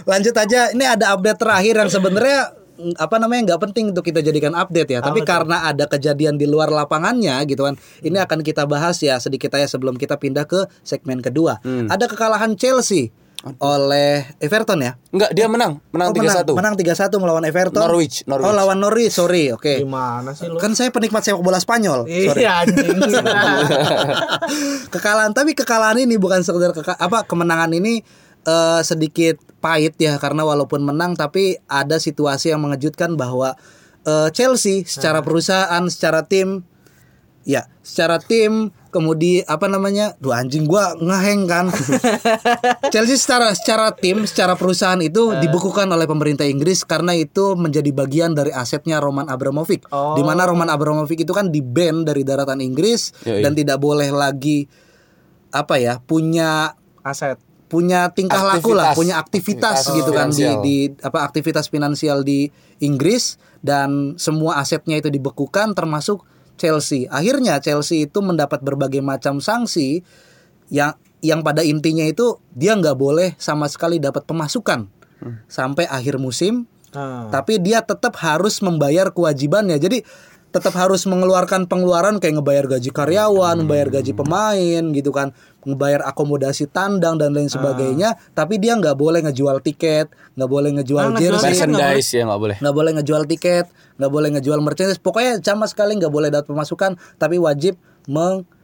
Speaker 2: Lanjut aja. Ini ada update terakhir yang sebenarnya mm, apa namanya nggak penting untuk kita jadikan update ya tapi karena ada kejadian di luar lapangannya gitu kan ini
Speaker 1: Hmm.
Speaker 2: akan kita bahas ya sedikit aja sebelum kita pindah ke segmen kedua
Speaker 1: Hmm.
Speaker 2: ada kekalahan Chelsea oleh Everton ya
Speaker 1: Enggak, dia menang, menang
Speaker 2: Oh,
Speaker 1: 3-1.
Speaker 2: Menang 3-1 melawan Everton.
Speaker 1: Norwich, Norwich.
Speaker 2: Oh, lawan Norwich, sorry. Oke.
Speaker 3: Gimana sih lu?
Speaker 2: Kan saya penikmat sepak bola Spanyol. Sorry.
Speaker 3: Iya anjing.
Speaker 2: kekalahan tapi kekalahan ini bukan sekedar keka- apa kemenangan ini eh, sedikit pahit ya karena walaupun menang tapi ada situasi yang mengejutkan bahwa eh, Chelsea secara perusahaan, secara tim ya, secara tim kemudian apa namanya? Duh anjing gua ngeheng kan. Chelsea secara secara tim, secara perusahaan itu dibekukan oleh pemerintah Inggris karena itu menjadi bagian dari asetnya Roman Abramovich.
Speaker 3: Oh.
Speaker 2: Di mana Roman Abramovich itu kan di-ban dari daratan Inggris
Speaker 1: Yoi.
Speaker 2: dan tidak boleh lagi apa ya, punya
Speaker 3: Aset.
Speaker 2: punya tingkah
Speaker 1: Aktivitas.
Speaker 2: laku lah, punya aktivitas
Speaker 1: Aktivitas
Speaker 2: gitu kan di,
Speaker 1: finansial.
Speaker 2: di apa aktivitas finansial di Inggris dan semua asetnya itu dibekukan termasuk Chelsea. Akhirnya Chelsea itu mendapat berbagai macam sanksi yang yang pada intinya itu dia nggak boleh sama sekali dapat pemasukan
Speaker 1: Hmm.
Speaker 2: sampai akhir musim
Speaker 3: Ah.
Speaker 2: tapi dia tetap harus membayar kewajibannya jadi tetap harus mengeluarkan pengeluaran kayak ngebayar gaji karyawan, ngebayar gaji pemain gitu kan, ngebayar akomodasi tandang dan lain sebagainya, tapi dia nggak boleh ngejual tiket, nggak boleh
Speaker 3: Ah,
Speaker 2: ngejual
Speaker 3: ngejual
Speaker 2: jersey,
Speaker 3: tiket.
Speaker 1: Merchandise ya nggak boleh.
Speaker 2: nggak boleh ngejual tiket, nggak boleh ngejual merchandise, pokoknya sama sekali nggak boleh dapat pemasukan, tapi wajib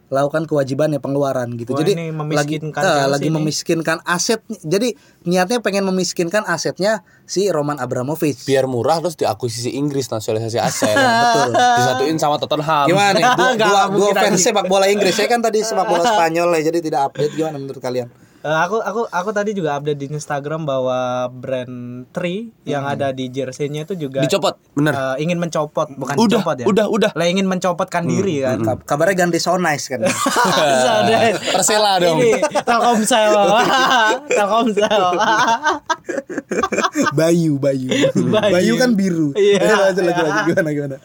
Speaker 2: melakukan kewajibannya pengeluaran gitu.
Speaker 3: Wah,
Speaker 2: Jadi
Speaker 3: ini
Speaker 2: lagi
Speaker 3: memiskinkan
Speaker 2: eh,
Speaker 3: Chelsea
Speaker 2: lagi
Speaker 3: nih.
Speaker 2: memiskinkan aset. Jadi niatnya pengen memiskinkan asetnya si Roman Abramovich.
Speaker 1: Biar murah terus diakuisisi Inggris nasionalisasi aset.
Speaker 2: Betul.
Speaker 1: Disatuin sama Tottenham.
Speaker 2: Gimana nih? Gua,
Speaker 3: Nggak
Speaker 2: gua,
Speaker 3: mungkin
Speaker 2: gua fans
Speaker 3: anjing.
Speaker 2: sepak bola Inggris. Saya kan tadi sepak bola Spanyol ya, jadi tidak update. Gimana menurut kalian?
Speaker 3: Eh, aku aku aku tadi juga update di Instagram bahwa brand Tree yang ada di jersey-nya itu juga
Speaker 1: Dicopot, bener.
Speaker 3: eh, ingin mencopot,
Speaker 2: Ah,
Speaker 3: bukan
Speaker 1: Udah,
Speaker 3: dicopot ya.
Speaker 1: udah, udah. Hmm,
Speaker 3: Lah ingin mencopotkan diri kan.
Speaker 2: Kab- Kabarnya ganti so nice kan.
Speaker 3: Sadar.
Speaker 1: Persela dong.
Speaker 3: Ini Telkomsel. Telkomsel.
Speaker 2: Bayu, Bayu.
Speaker 3: Bayu.
Speaker 2: Bayu kan biru.
Speaker 3: Iya.
Speaker 2: Udah, lanjut, lanjut, lanjut. Gimana gimana?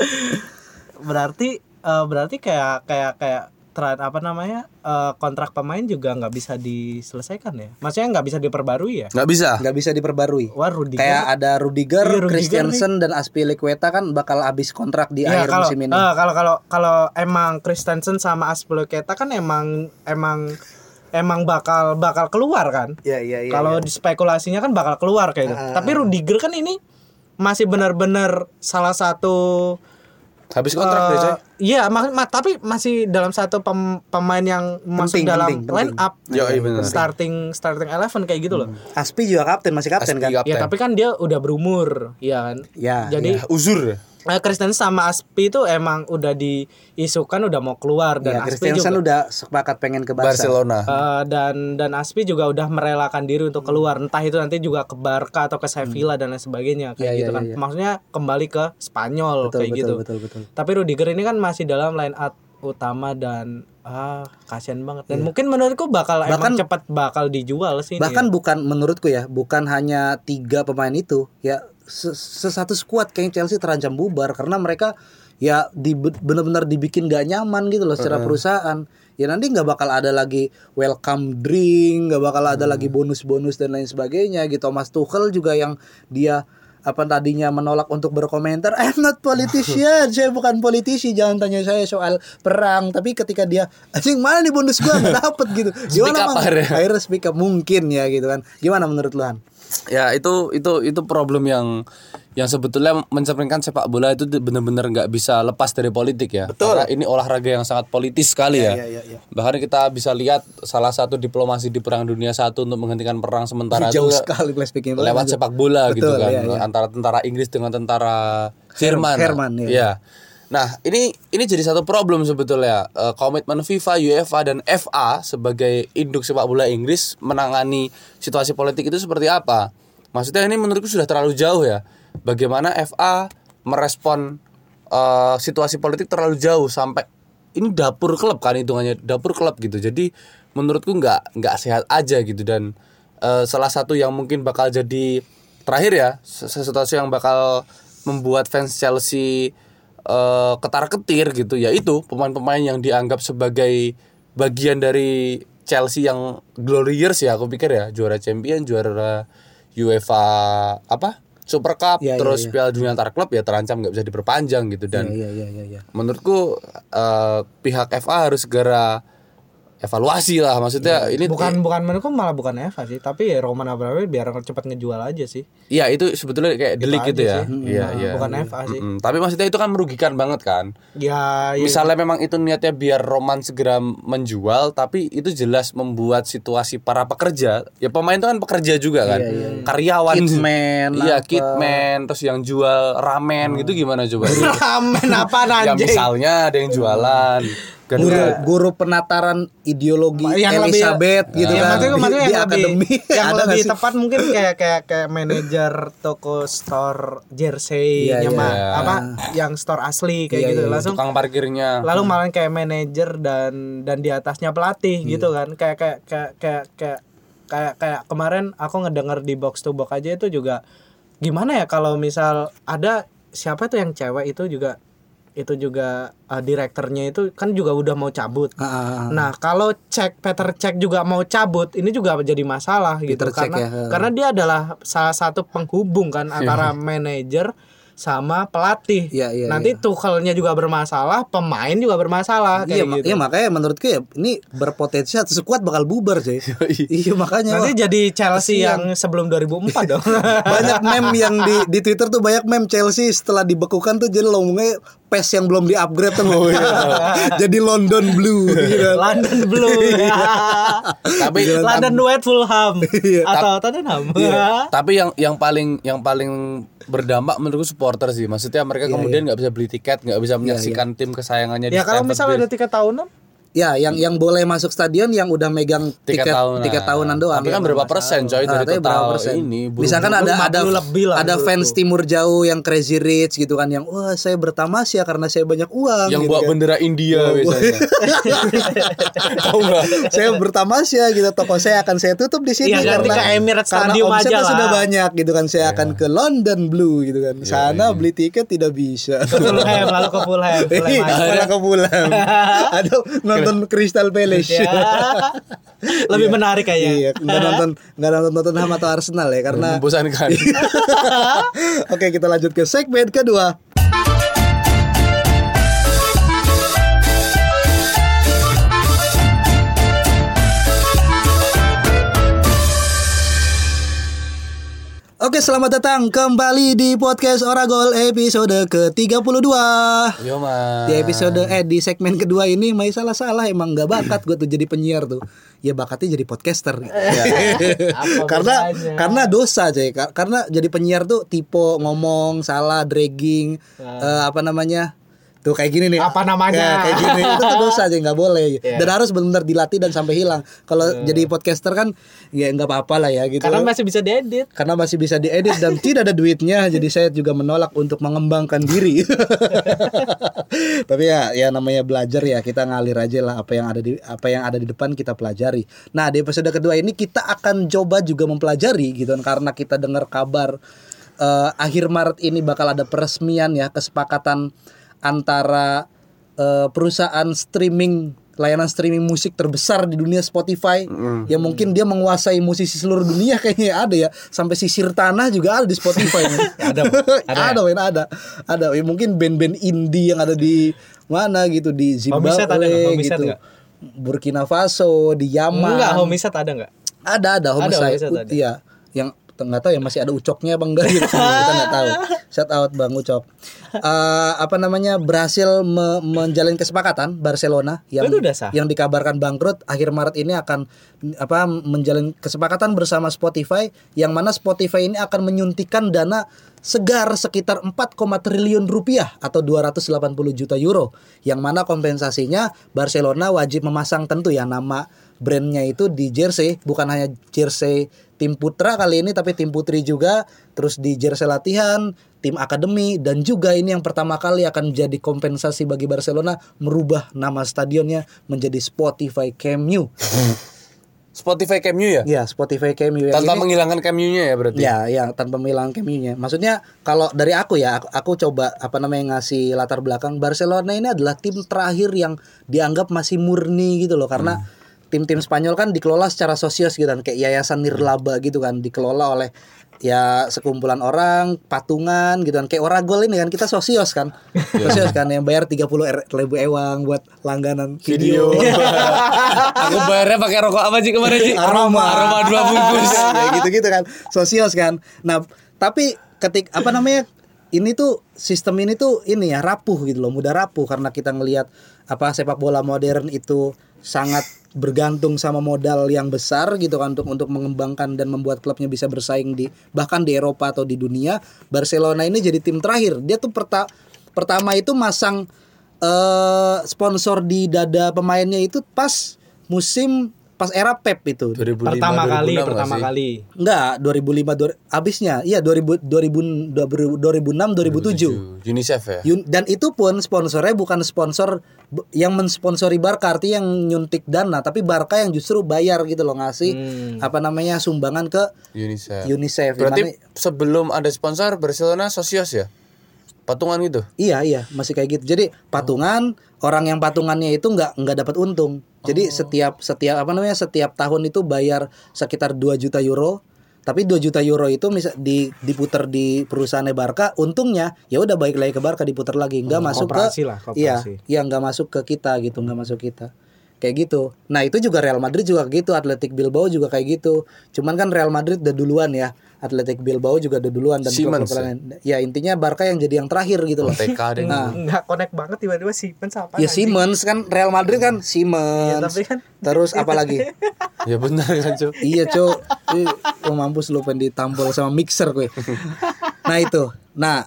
Speaker 3: berarti eh, berarti kayak kayak kayak tra- apa namanya eh, kontrak pemain juga nggak bisa diselesaikan ya maksudnya nggak bisa diperbarui ya
Speaker 1: nggak bisa
Speaker 2: nggak bisa diperbarui
Speaker 3: wah Rudiger kan?
Speaker 2: kayak ada Rudiger,
Speaker 3: Iya, Rudiger
Speaker 2: Christiansen dan Aspilicueta kan bakal habis kontrak di
Speaker 3: Ya,
Speaker 2: akhir
Speaker 3: kalau
Speaker 2: musim ini.
Speaker 3: eh, kalau kalau kalau emang Christensen sama Aspilicueta kan emang emang emang bakal bakal keluar kan
Speaker 2: Iya iya Ah, iya.
Speaker 3: kalau dispekulasinya kan bakal keluar kayak gitu. Tapi Rudiger kan ini masih benar-benar salah satu
Speaker 1: habis kontrak
Speaker 3: eh,
Speaker 1: deh coy
Speaker 3: Iya, ma- ma- tapi masih dalam satu pem- pemain yang masuk
Speaker 2: Penting,
Speaker 3: dalam
Speaker 2: penting,
Speaker 3: line
Speaker 2: penting.
Speaker 3: up
Speaker 1: Yo, iya benar.
Speaker 3: starting starting eleven kayak gitu loh.
Speaker 2: Aspi juga kapten masih Hmm. kapten
Speaker 1: Aspi
Speaker 2: kan?
Speaker 1: kapten.
Speaker 3: Ya, tapi kan dia udah berumur, ya kan.
Speaker 2: Ya.
Speaker 3: Jadi
Speaker 1: Ya, uzur
Speaker 3: eh, Christensen sama Aspi itu emang udah diisukan udah mau keluar dan
Speaker 2: Ya,
Speaker 3: Aspi juga
Speaker 2: Christiansen udah sepakat pengen ke Barca.
Speaker 1: Barcelona
Speaker 3: Eh, dan dan Aspi juga udah merelakan diri untuk keluar entah itu nanti juga ke Barca atau ke Sevilla dan lain sebagainya kayak
Speaker 2: Iya,
Speaker 3: gitu
Speaker 2: iya,
Speaker 3: kan
Speaker 2: iya.
Speaker 3: maksudnya kembali ke Spanyol
Speaker 2: Betul
Speaker 3: kayak
Speaker 2: betul,
Speaker 3: gitu
Speaker 2: betul betul
Speaker 3: tapi Rudiger ini kan masih dalam line up utama dan ah kasihan banget dan mungkin menurutku bakal emang
Speaker 2: Iya. Bahkan-
Speaker 3: cepat bakal dijual sih ini
Speaker 2: Bahkan
Speaker 3: ya.
Speaker 2: bukan menurutku ya, bukan hanya tiga pemain itu ya se- sesatu skuad kayak Chelsea terancam bubar karena mereka ya di benar-benar dibikin gak nyaman gitu loh secara perusahaan. Ya nanti nggak bakal ada lagi welcome drink, nggak bakal ada lagi bonus-bonus dan lain sebagainya gitu. Mas Tuchel juga yang dia apa tadinya menolak untuk berkomentar I'm not politician saya bukan politisi jangan tanya saya soal perang tapi ketika dia anjing mana nih bonus gua nggak dapet gitu
Speaker 1: up
Speaker 2: gimana
Speaker 1: ya.
Speaker 2: Mang?"
Speaker 1: akhirnya.
Speaker 2: akhirnya speak up mungkin ya gitu kan gimana menurut lu Han?
Speaker 1: ya itu itu itu problem yang yang sebetulnya mencerminkan sepak bola itu tuh benar-benar nggak bisa lepas dari politik ya karena ini olahraga yang sangat politis sekali ya,
Speaker 3: Iya,
Speaker 1: bahkan kita bisa lihat salah satu diplomasi di perang dunia satu untuk menghentikan perang sementara
Speaker 2: jauh
Speaker 1: itu
Speaker 2: sekali play speaking
Speaker 1: lewat sepak bola gitu
Speaker 2: Betul,
Speaker 1: kan
Speaker 2: iya, iya.
Speaker 1: antara tentara Inggris dengan tentara Jerman
Speaker 2: Jerman, iya.
Speaker 1: ya nah ini ini jadi satu problem sebetulnya Eh, komitmen FIFA, UEFA dan FA sebagai induk sepak bola Inggris menangani situasi politik itu seperti apa maksudnya ini menurutku sudah terlalu jauh ya bagaimana FA merespon eh, situasi politik terlalu jauh sampai ini dapur klub kan hitungannya dapur klub gitu jadi menurutku nggak nggak sehat aja gitu dan eh, salah satu yang mungkin bakal jadi terakhir ya se- sesuatu yang bakal membuat fans Chelsea eh, ketar-ketir gitu yaitu pemain-pemain yang dianggap sebagai bagian dari Chelsea yang glory years ya aku pikir ya juara champion juara UEFA apa Super Cup
Speaker 2: Iya, iya,
Speaker 1: terus
Speaker 2: iya.
Speaker 1: Piala Dunia antar klub ya terancam nggak bisa diperpanjang gitu dan
Speaker 2: iya iya iya iya
Speaker 1: menurutku eh, pihak FA harus segera evaluasi lah maksudnya ini
Speaker 2: ya.
Speaker 3: bukan bukan menurutku malah bukan Eva sih tapi ya Roman Abramovich biar cepat ngejual aja sih
Speaker 1: ya itu sebetulnya kayak delik
Speaker 3: aja
Speaker 1: gitu ya
Speaker 3: sih.
Speaker 1: iya
Speaker 3: Nah,
Speaker 1: iya
Speaker 3: bukan FA sih
Speaker 1: Mm-mm. tapi maksudnya itu kan merugikan banget kan
Speaker 3: ya, ya
Speaker 1: misalnya memang itu niatnya biar Roman segera menjual tapi itu jelas membuat situasi para pekerja ya pemain itu kan pekerja juga kan karyawan
Speaker 2: Kitman,
Speaker 1: iya
Speaker 2: apa.
Speaker 1: kitman terus yang jual ramen gitu gimana coba
Speaker 3: ramen apa
Speaker 1: ya
Speaker 3: anjing
Speaker 1: misalnya ada yang jualan
Speaker 2: guru
Speaker 1: Gara-gara-
Speaker 2: guru penataran ideologi
Speaker 3: Yang lebih-
Speaker 2: Elizabeth gitu
Speaker 3: Ya,
Speaker 2: kan
Speaker 3: maksudnya,
Speaker 2: di-
Speaker 3: maksudnya
Speaker 2: di
Speaker 3: yang lebih,
Speaker 2: akademi
Speaker 3: yang
Speaker 2: ada
Speaker 3: lebih
Speaker 2: nggak sih?
Speaker 3: tepat mungkin kayak kayak kayak manajer toko store jersey-nya
Speaker 2: Iya, iya.
Speaker 3: mah, apa yang store asli kayak
Speaker 2: Iya,
Speaker 3: gitu
Speaker 2: iya,
Speaker 3: langsung
Speaker 1: tukang parkirnya
Speaker 3: lalu malah kayak manajer dan dan di atasnya pelatih
Speaker 2: Iya.
Speaker 3: gitu kan kayak kayak kayak kayak kayak kayak kayak kemarin aku ngedenger di box to box aja itu juga gimana ya kalau misal ada siapa tuh yang cewek itu juga itu juga eh, direkturnya itu kan juga udah mau cabut
Speaker 2: Ah, ah, ah.
Speaker 3: Nah, kalau cek Peter cek juga mau cabut, ini juga jadi masalah gitu
Speaker 2: Peter Cech
Speaker 3: karena
Speaker 2: ya, heeh.
Speaker 3: karena dia adalah salah satu penghubung kan antara manajer sama pelatih.
Speaker 2: Iya, iya,
Speaker 3: Nanti
Speaker 2: iya.
Speaker 3: tukelnya juga bermasalah, pemain juga bermasalah kayak
Speaker 2: Iya, mak-
Speaker 3: gitu.
Speaker 2: iya, makanya menurutku ya ini berpotensi satu sekuat bakal bubar sih. iya makanya
Speaker 3: Nanti
Speaker 2: wah,
Speaker 3: jadi Chelsea yang sebelum 2004 dong.
Speaker 2: banyak meme yang di, di Twitter tuh banyak meme Chelsea setelah dibekukan tuh jadi lomongnya pes yang belum di-upgrade tuh.
Speaker 1: Oh, iya.
Speaker 2: jadi London Blue gitu kan.
Speaker 3: London Blue.
Speaker 1: Tapi-
Speaker 3: London White Fulham
Speaker 2: Iya.
Speaker 3: atau Tottenham.
Speaker 1: tapi yang yang paling yang paling berdampak menurutku supporter sih maksudnya mereka
Speaker 3: Iya,
Speaker 1: kemudian nggak bisa beli tiket nggak bisa menyaksikan tim kesayangannya di
Speaker 3: ya kalau
Speaker 1: Stamford
Speaker 3: misalnya ada
Speaker 1: Bridge.
Speaker 3: tiga tahunan
Speaker 2: Ya, yang yang boleh masuk stadion yang udah megang
Speaker 1: tiket,
Speaker 2: tiket
Speaker 1: tahunan
Speaker 2: tiket tahunan doang.
Speaker 1: tapi kan berapa persen coy
Speaker 2: Nah,
Speaker 1: dari total
Speaker 2: tapi berapa persen?
Speaker 1: ini buru-
Speaker 2: Misalkan
Speaker 3: buru-
Speaker 2: ada ada
Speaker 3: 40 lebih lah
Speaker 2: ada
Speaker 3: menurut
Speaker 2: fans
Speaker 3: gua.
Speaker 2: timur jauh yang crazy rich gitu kan yang wah saya bertamasya karena saya banyak uang
Speaker 1: yang
Speaker 2: gitu
Speaker 1: bawa
Speaker 2: kan.
Speaker 1: bendera India
Speaker 3: Iya.
Speaker 1: biasanya tahu nggak
Speaker 2: saya bertamasya gitu toko saya akan saya tutup di sini
Speaker 3: Iya, ganti
Speaker 2: karena
Speaker 3: ke Emirates
Speaker 2: karena
Speaker 3: Stadium
Speaker 2: omsetnya
Speaker 3: aja lah. Iya.
Speaker 2: sudah banyak gitu kan saya akan ke London Blue gitu kan. Sana beli tiket tidak bisa.
Speaker 3: Fulham lalu ke Fulham, Fulham aja.
Speaker 2: Iya, malah ke Fulham. Aduh, non nonton Crystal Palace.
Speaker 3: Ya. Lebih menarik kayaknya.
Speaker 2: Iya, nggak nonton nggak nonton Tottenham atau Arsenal ya karena.
Speaker 1: membosankan
Speaker 3: Iya.
Speaker 2: Oke, kita lanjut ke segmen kedua. Oke, selamat datang kembali di podcast Oragol episode ke-32.
Speaker 1: yo Iya, mas
Speaker 3: Iya.
Speaker 2: Di episode eh di segmen kedua ini Mai salah salah emang nggak bakat gue tuh jadi penyiar tuh. Ya bakatnya jadi podcaster. karena
Speaker 3: Iya. bedanya?
Speaker 2: karena dosa aja karena jadi penyiar tuh tipe ngomong salah dragging eh, apa namanya tuh kayak gini nih
Speaker 3: Ah. Apa namanya? Iya.
Speaker 2: Ya, kayak gini itu tuh dosa aja nggak boleh dan harus benar-benar dilatih dan sampai hilang kalau jadi podcaster kan ya nggak apa-apa lah ya gitu
Speaker 3: Karena masih bisa diedit.
Speaker 2: karena masih bisa diedit dan tidak ada duitnya jadi saya juga menolak untuk mengembangkan diri tapi ya ya namanya belajar ya kita ngalir aja lah apa yang ada di apa yang ada di depan kita pelajari nah di episode kedua ini kita akan coba juga mempelajari gitu kan karena kita dengar kabar eh, akhir Maret ini bakal ada peresmian ya kesepakatan antara eh, perusahaan streaming layanan streaming musik terbesar di dunia Spotify ya mungkin dia menguasai musisi seluruh dunia kayaknya ada ya sampai sisir tanah juga ada di Spotify ada ada ada
Speaker 3: ya?
Speaker 2: men, ada ada Ya, mungkin band-band indie yang ada di mana gitu di Zimbabwe
Speaker 3: Homicide ada nggak? Homicide
Speaker 2: gitu
Speaker 3: nggak?
Speaker 2: Burkina Faso di Yaman
Speaker 3: Enggak, homicide ada enggak?
Speaker 2: ada ada homicide.
Speaker 3: homicide
Speaker 2: U-
Speaker 3: ada.
Speaker 2: Iya, yang nggak tahu ya masih ada ucoknya apa enggak gitu. kita nggak tahu. Shout out Bang Ucok. Eh, apa namanya berhasil me- menjalin kesepakatan Barcelona yang
Speaker 3: Itu udah sah.
Speaker 2: yang dikabarkan bangkrut akhir Maret ini akan mm, apa menjalin kesepakatan bersama Spotify yang mana Spotify ini akan menyuntikkan dana segar sekitar 4, triliun rupiah atau 280 juta euro yang mana kompensasinya Barcelona wajib memasang tentu ya nama brandnya itu di jersey bukan hanya jersey tim putra kali ini tapi tim putri juga terus di jersey latihan tim akademi dan juga ini yang pertama kali akan menjadi kompensasi bagi Barcelona merubah nama stadionnya menjadi Spotify Camp Nou.
Speaker 1: Spotify Camp New ya
Speaker 2: Ya,
Speaker 3: Iya,
Speaker 2: Spotify Camp Nou yang
Speaker 1: tanpa
Speaker 2: ini-
Speaker 1: menghilangkan Camp New-nya ya berarti
Speaker 2: Ya, ya tanpa bilang kemiunya. Maksudnya kalau dari aku ya, aku, aku coba apa namanya ngasih latar belakang Barcelona ini adalah tim terakhir yang dianggap masih murni gitu loh karena tim-tim Spanyol kan dikelola secara sosios gitu kan kayak yayasan nirlaba gitu kan dikelola oleh ya sekumpulan orang patungan gitu kan kayak Oragol ini kan kita sosios kan sosios kan yang bayar 30 er- ribu ewang buat langganan video,
Speaker 4: Aku bayarnya pakai rokok apa sih kemarin sih?
Speaker 2: aroma
Speaker 4: Aroma dua bungkus.
Speaker 1: Iya,
Speaker 2: ya gitu-gitu kan sosios kan nah tapi ketik apa namanya ini tuh sistem ini tuh ini ya rapuh gitu loh mudah rapuh karena kita ngelihat apa sepak bola modern itu sangat bergantung sama modal yang besar gitu kan untuk untuk mengembangkan dan membuat klubnya bisa bersaing di bahkan di Eropa atau di dunia Barcelona ini jadi tim terakhir dia tuh perta- pertama itu masang eh sponsor di dada pemainnya itu pas musim pas era Pep itu
Speaker 1: 2005,
Speaker 3: Pertama
Speaker 1: 2006
Speaker 3: kali,
Speaker 1: nggak
Speaker 3: pertama
Speaker 1: sih?
Speaker 3: kali.
Speaker 2: Iya. Enggak, 2005 dua- abisnya. Iya, 2000 2000 2006 2007.
Speaker 1: UNICEF ya
Speaker 2: Yun- Dan itu pun sponsornya bukan sponsor b- yang mensponsori Barca artinya yang nyuntik dana, tapi Barca yang justru bayar gitu loh ngasih
Speaker 3: Hmm.
Speaker 2: apa namanya sumbangan ke
Speaker 3: Iya.
Speaker 1: UNICEF
Speaker 2: UNICEF.
Speaker 1: Ya. berarti
Speaker 2: Dimana-
Speaker 1: sebelum ada sponsor Barcelona sosios ya patungan gitu
Speaker 2: Iya iya masih kayak gitu. Jadi
Speaker 3: Oh.
Speaker 2: patungan orang yang patungannya itu nggak nggak dapat untung.
Speaker 3: Oh.
Speaker 2: Jadi setiap setiap apa namanya setiap tahun itu bayar sekitar 2 juta euro. Tapi 2 juta euro itu bisa di diputer di perusahaannya Barca, untungnya ya udah balik lagi ke Barca diputer lagi, nggak masuk
Speaker 3: Oh, koperasi
Speaker 2: ke
Speaker 3: lah,
Speaker 2: Iya,
Speaker 3: koperasi.
Speaker 2: iya nggak masuk ke kita gitu, nggak masuk kita. Kayak gitu. Nah, itu juga Real Madrid juga gitu, Athletic Bilbao juga kayak gitu. Cuman kan Real Madrid udah duluan ya. Athletic Bilbao juga udah duluan dan
Speaker 1: Siemens,
Speaker 2: klub-klub lain. Ya intinya Barca yang jadi yang terakhir gitu loh.
Speaker 1: TK deh
Speaker 2: Nah,
Speaker 3: Enggak connect banget tiba-tiba sih siapa?
Speaker 2: Ya Siemens kan Real Madrid kan Siemens.
Speaker 3: Ya, tapi kan-
Speaker 2: Terus apa lagi?
Speaker 1: ya benar kan cuy
Speaker 2: iya, Cok. Ih, Lu mampus lu pengen ditampol sama mixer gue. Nah, itu. Nah,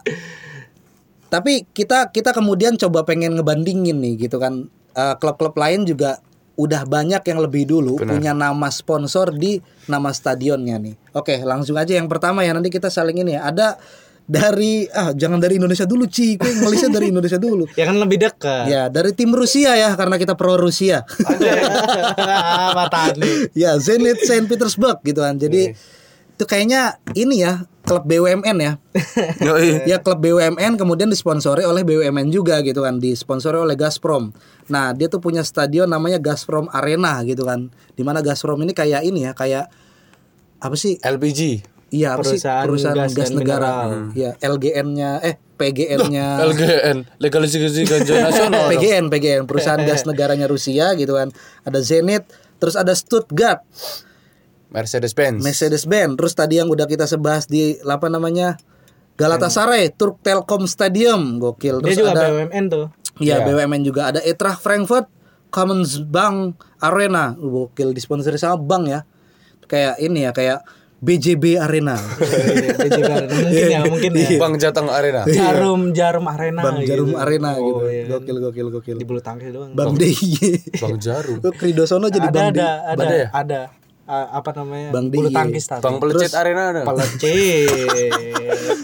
Speaker 2: tapi kita kita kemudian coba pengen ngebandingin nih gitu kan. Eh, klub-klub lain juga udah banyak yang lebih dulu punya nama sponsor di nama stadionnya nih. Oke, langsung aja yang pertama ya nanti kita saling ini ya. Ada dari ah jangan dari Indonesia dulu, Ci. Gue ngelisnya dari Indonesia dulu.
Speaker 3: Ya kan lebih dekat.
Speaker 2: Ya,
Speaker 3: Iya
Speaker 2: dari tim Rusia ya karena kita pro Rusia.
Speaker 3: Apa tadi?
Speaker 2: ya,
Speaker 3: Iya,
Speaker 2: Zenit Saint Petersburg gitu kan. Jadi itu kayaknya ini ya klub BUMN ya. ya
Speaker 3: Iya.
Speaker 2: klub BUMN kemudian disponsori oleh BUMN juga gitu kan, disponsori oleh Gazprom. Nah, dia tuh punya stadion namanya Gazprom Arena gitu kan. Dimana Gazprom ini kayak ini ya, kayak apa sih?
Speaker 1: LPG.
Speaker 2: Iya, apa sih?
Speaker 3: Perusahaan
Speaker 2: Perusahaan
Speaker 3: gas
Speaker 2: gas,
Speaker 3: dan mineral.
Speaker 2: negara. Iya, LGN-nya eh PGN-nya
Speaker 1: LGN, legalisasi ganja nasional. dong.
Speaker 2: PGN, PGN, perusahaan gas negaranya Rusia gitu kan. Ada Zenit, terus ada Stuttgart,
Speaker 1: Mercedes Benz.
Speaker 2: Mercedes Benz, terus tadi yang udah kita sebahas di apa namanya? Galatasaray, Turk Telkom Stadium, gokil.
Speaker 3: Hmm. Dia
Speaker 2: Terus
Speaker 3: juga
Speaker 2: ada
Speaker 3: BUMN tuh.
Speaker 2: ya
Speaker 3: Iya.
Speaker 2: BUMN juga ada Eintracht Frankfurt, Commerzbank Arena, gokil disponsori sama bank ya. Kayak ini ya, kayak BJB Arena.
Speaker 3: Dia juga ada. mungkin ya, mungkin ya.
Speaker 1: Bang Jateng Arena.
Speaker 3: Jarum Jarum Arena.
Speaker 2: Bank Iya. Jarum
Speaker 3: gitu.
Speaker 2: Arena gitu.
Speaker 3: Oh, iya.
Speaker 2: Gokil gokil gokil.
Speaker 3: Di bulu tangkis doang.
Speaker 2: Bang DIY.
Speaker 1: Bang Jarum.
Speaker 2: Kok Kridosono jadi
Speaker 3: ada,
Speaker 2: Bang
Speaker 3: ada,
Speaker 2: DIY?
Speaker 3: ada,
Speaker 1: Ada
Speaker 3: ada,
Speaker 1: ya?
Speaker 3: Ah, apa namanya?
Speaker 2: Bang
Speaker 3: bulu
Speaker 2: Di.
Speaker 3: tangkis tadi.
Speaker 1: Bang Pelecet Arena ada. nggak?
Speaker 3: Pelecet.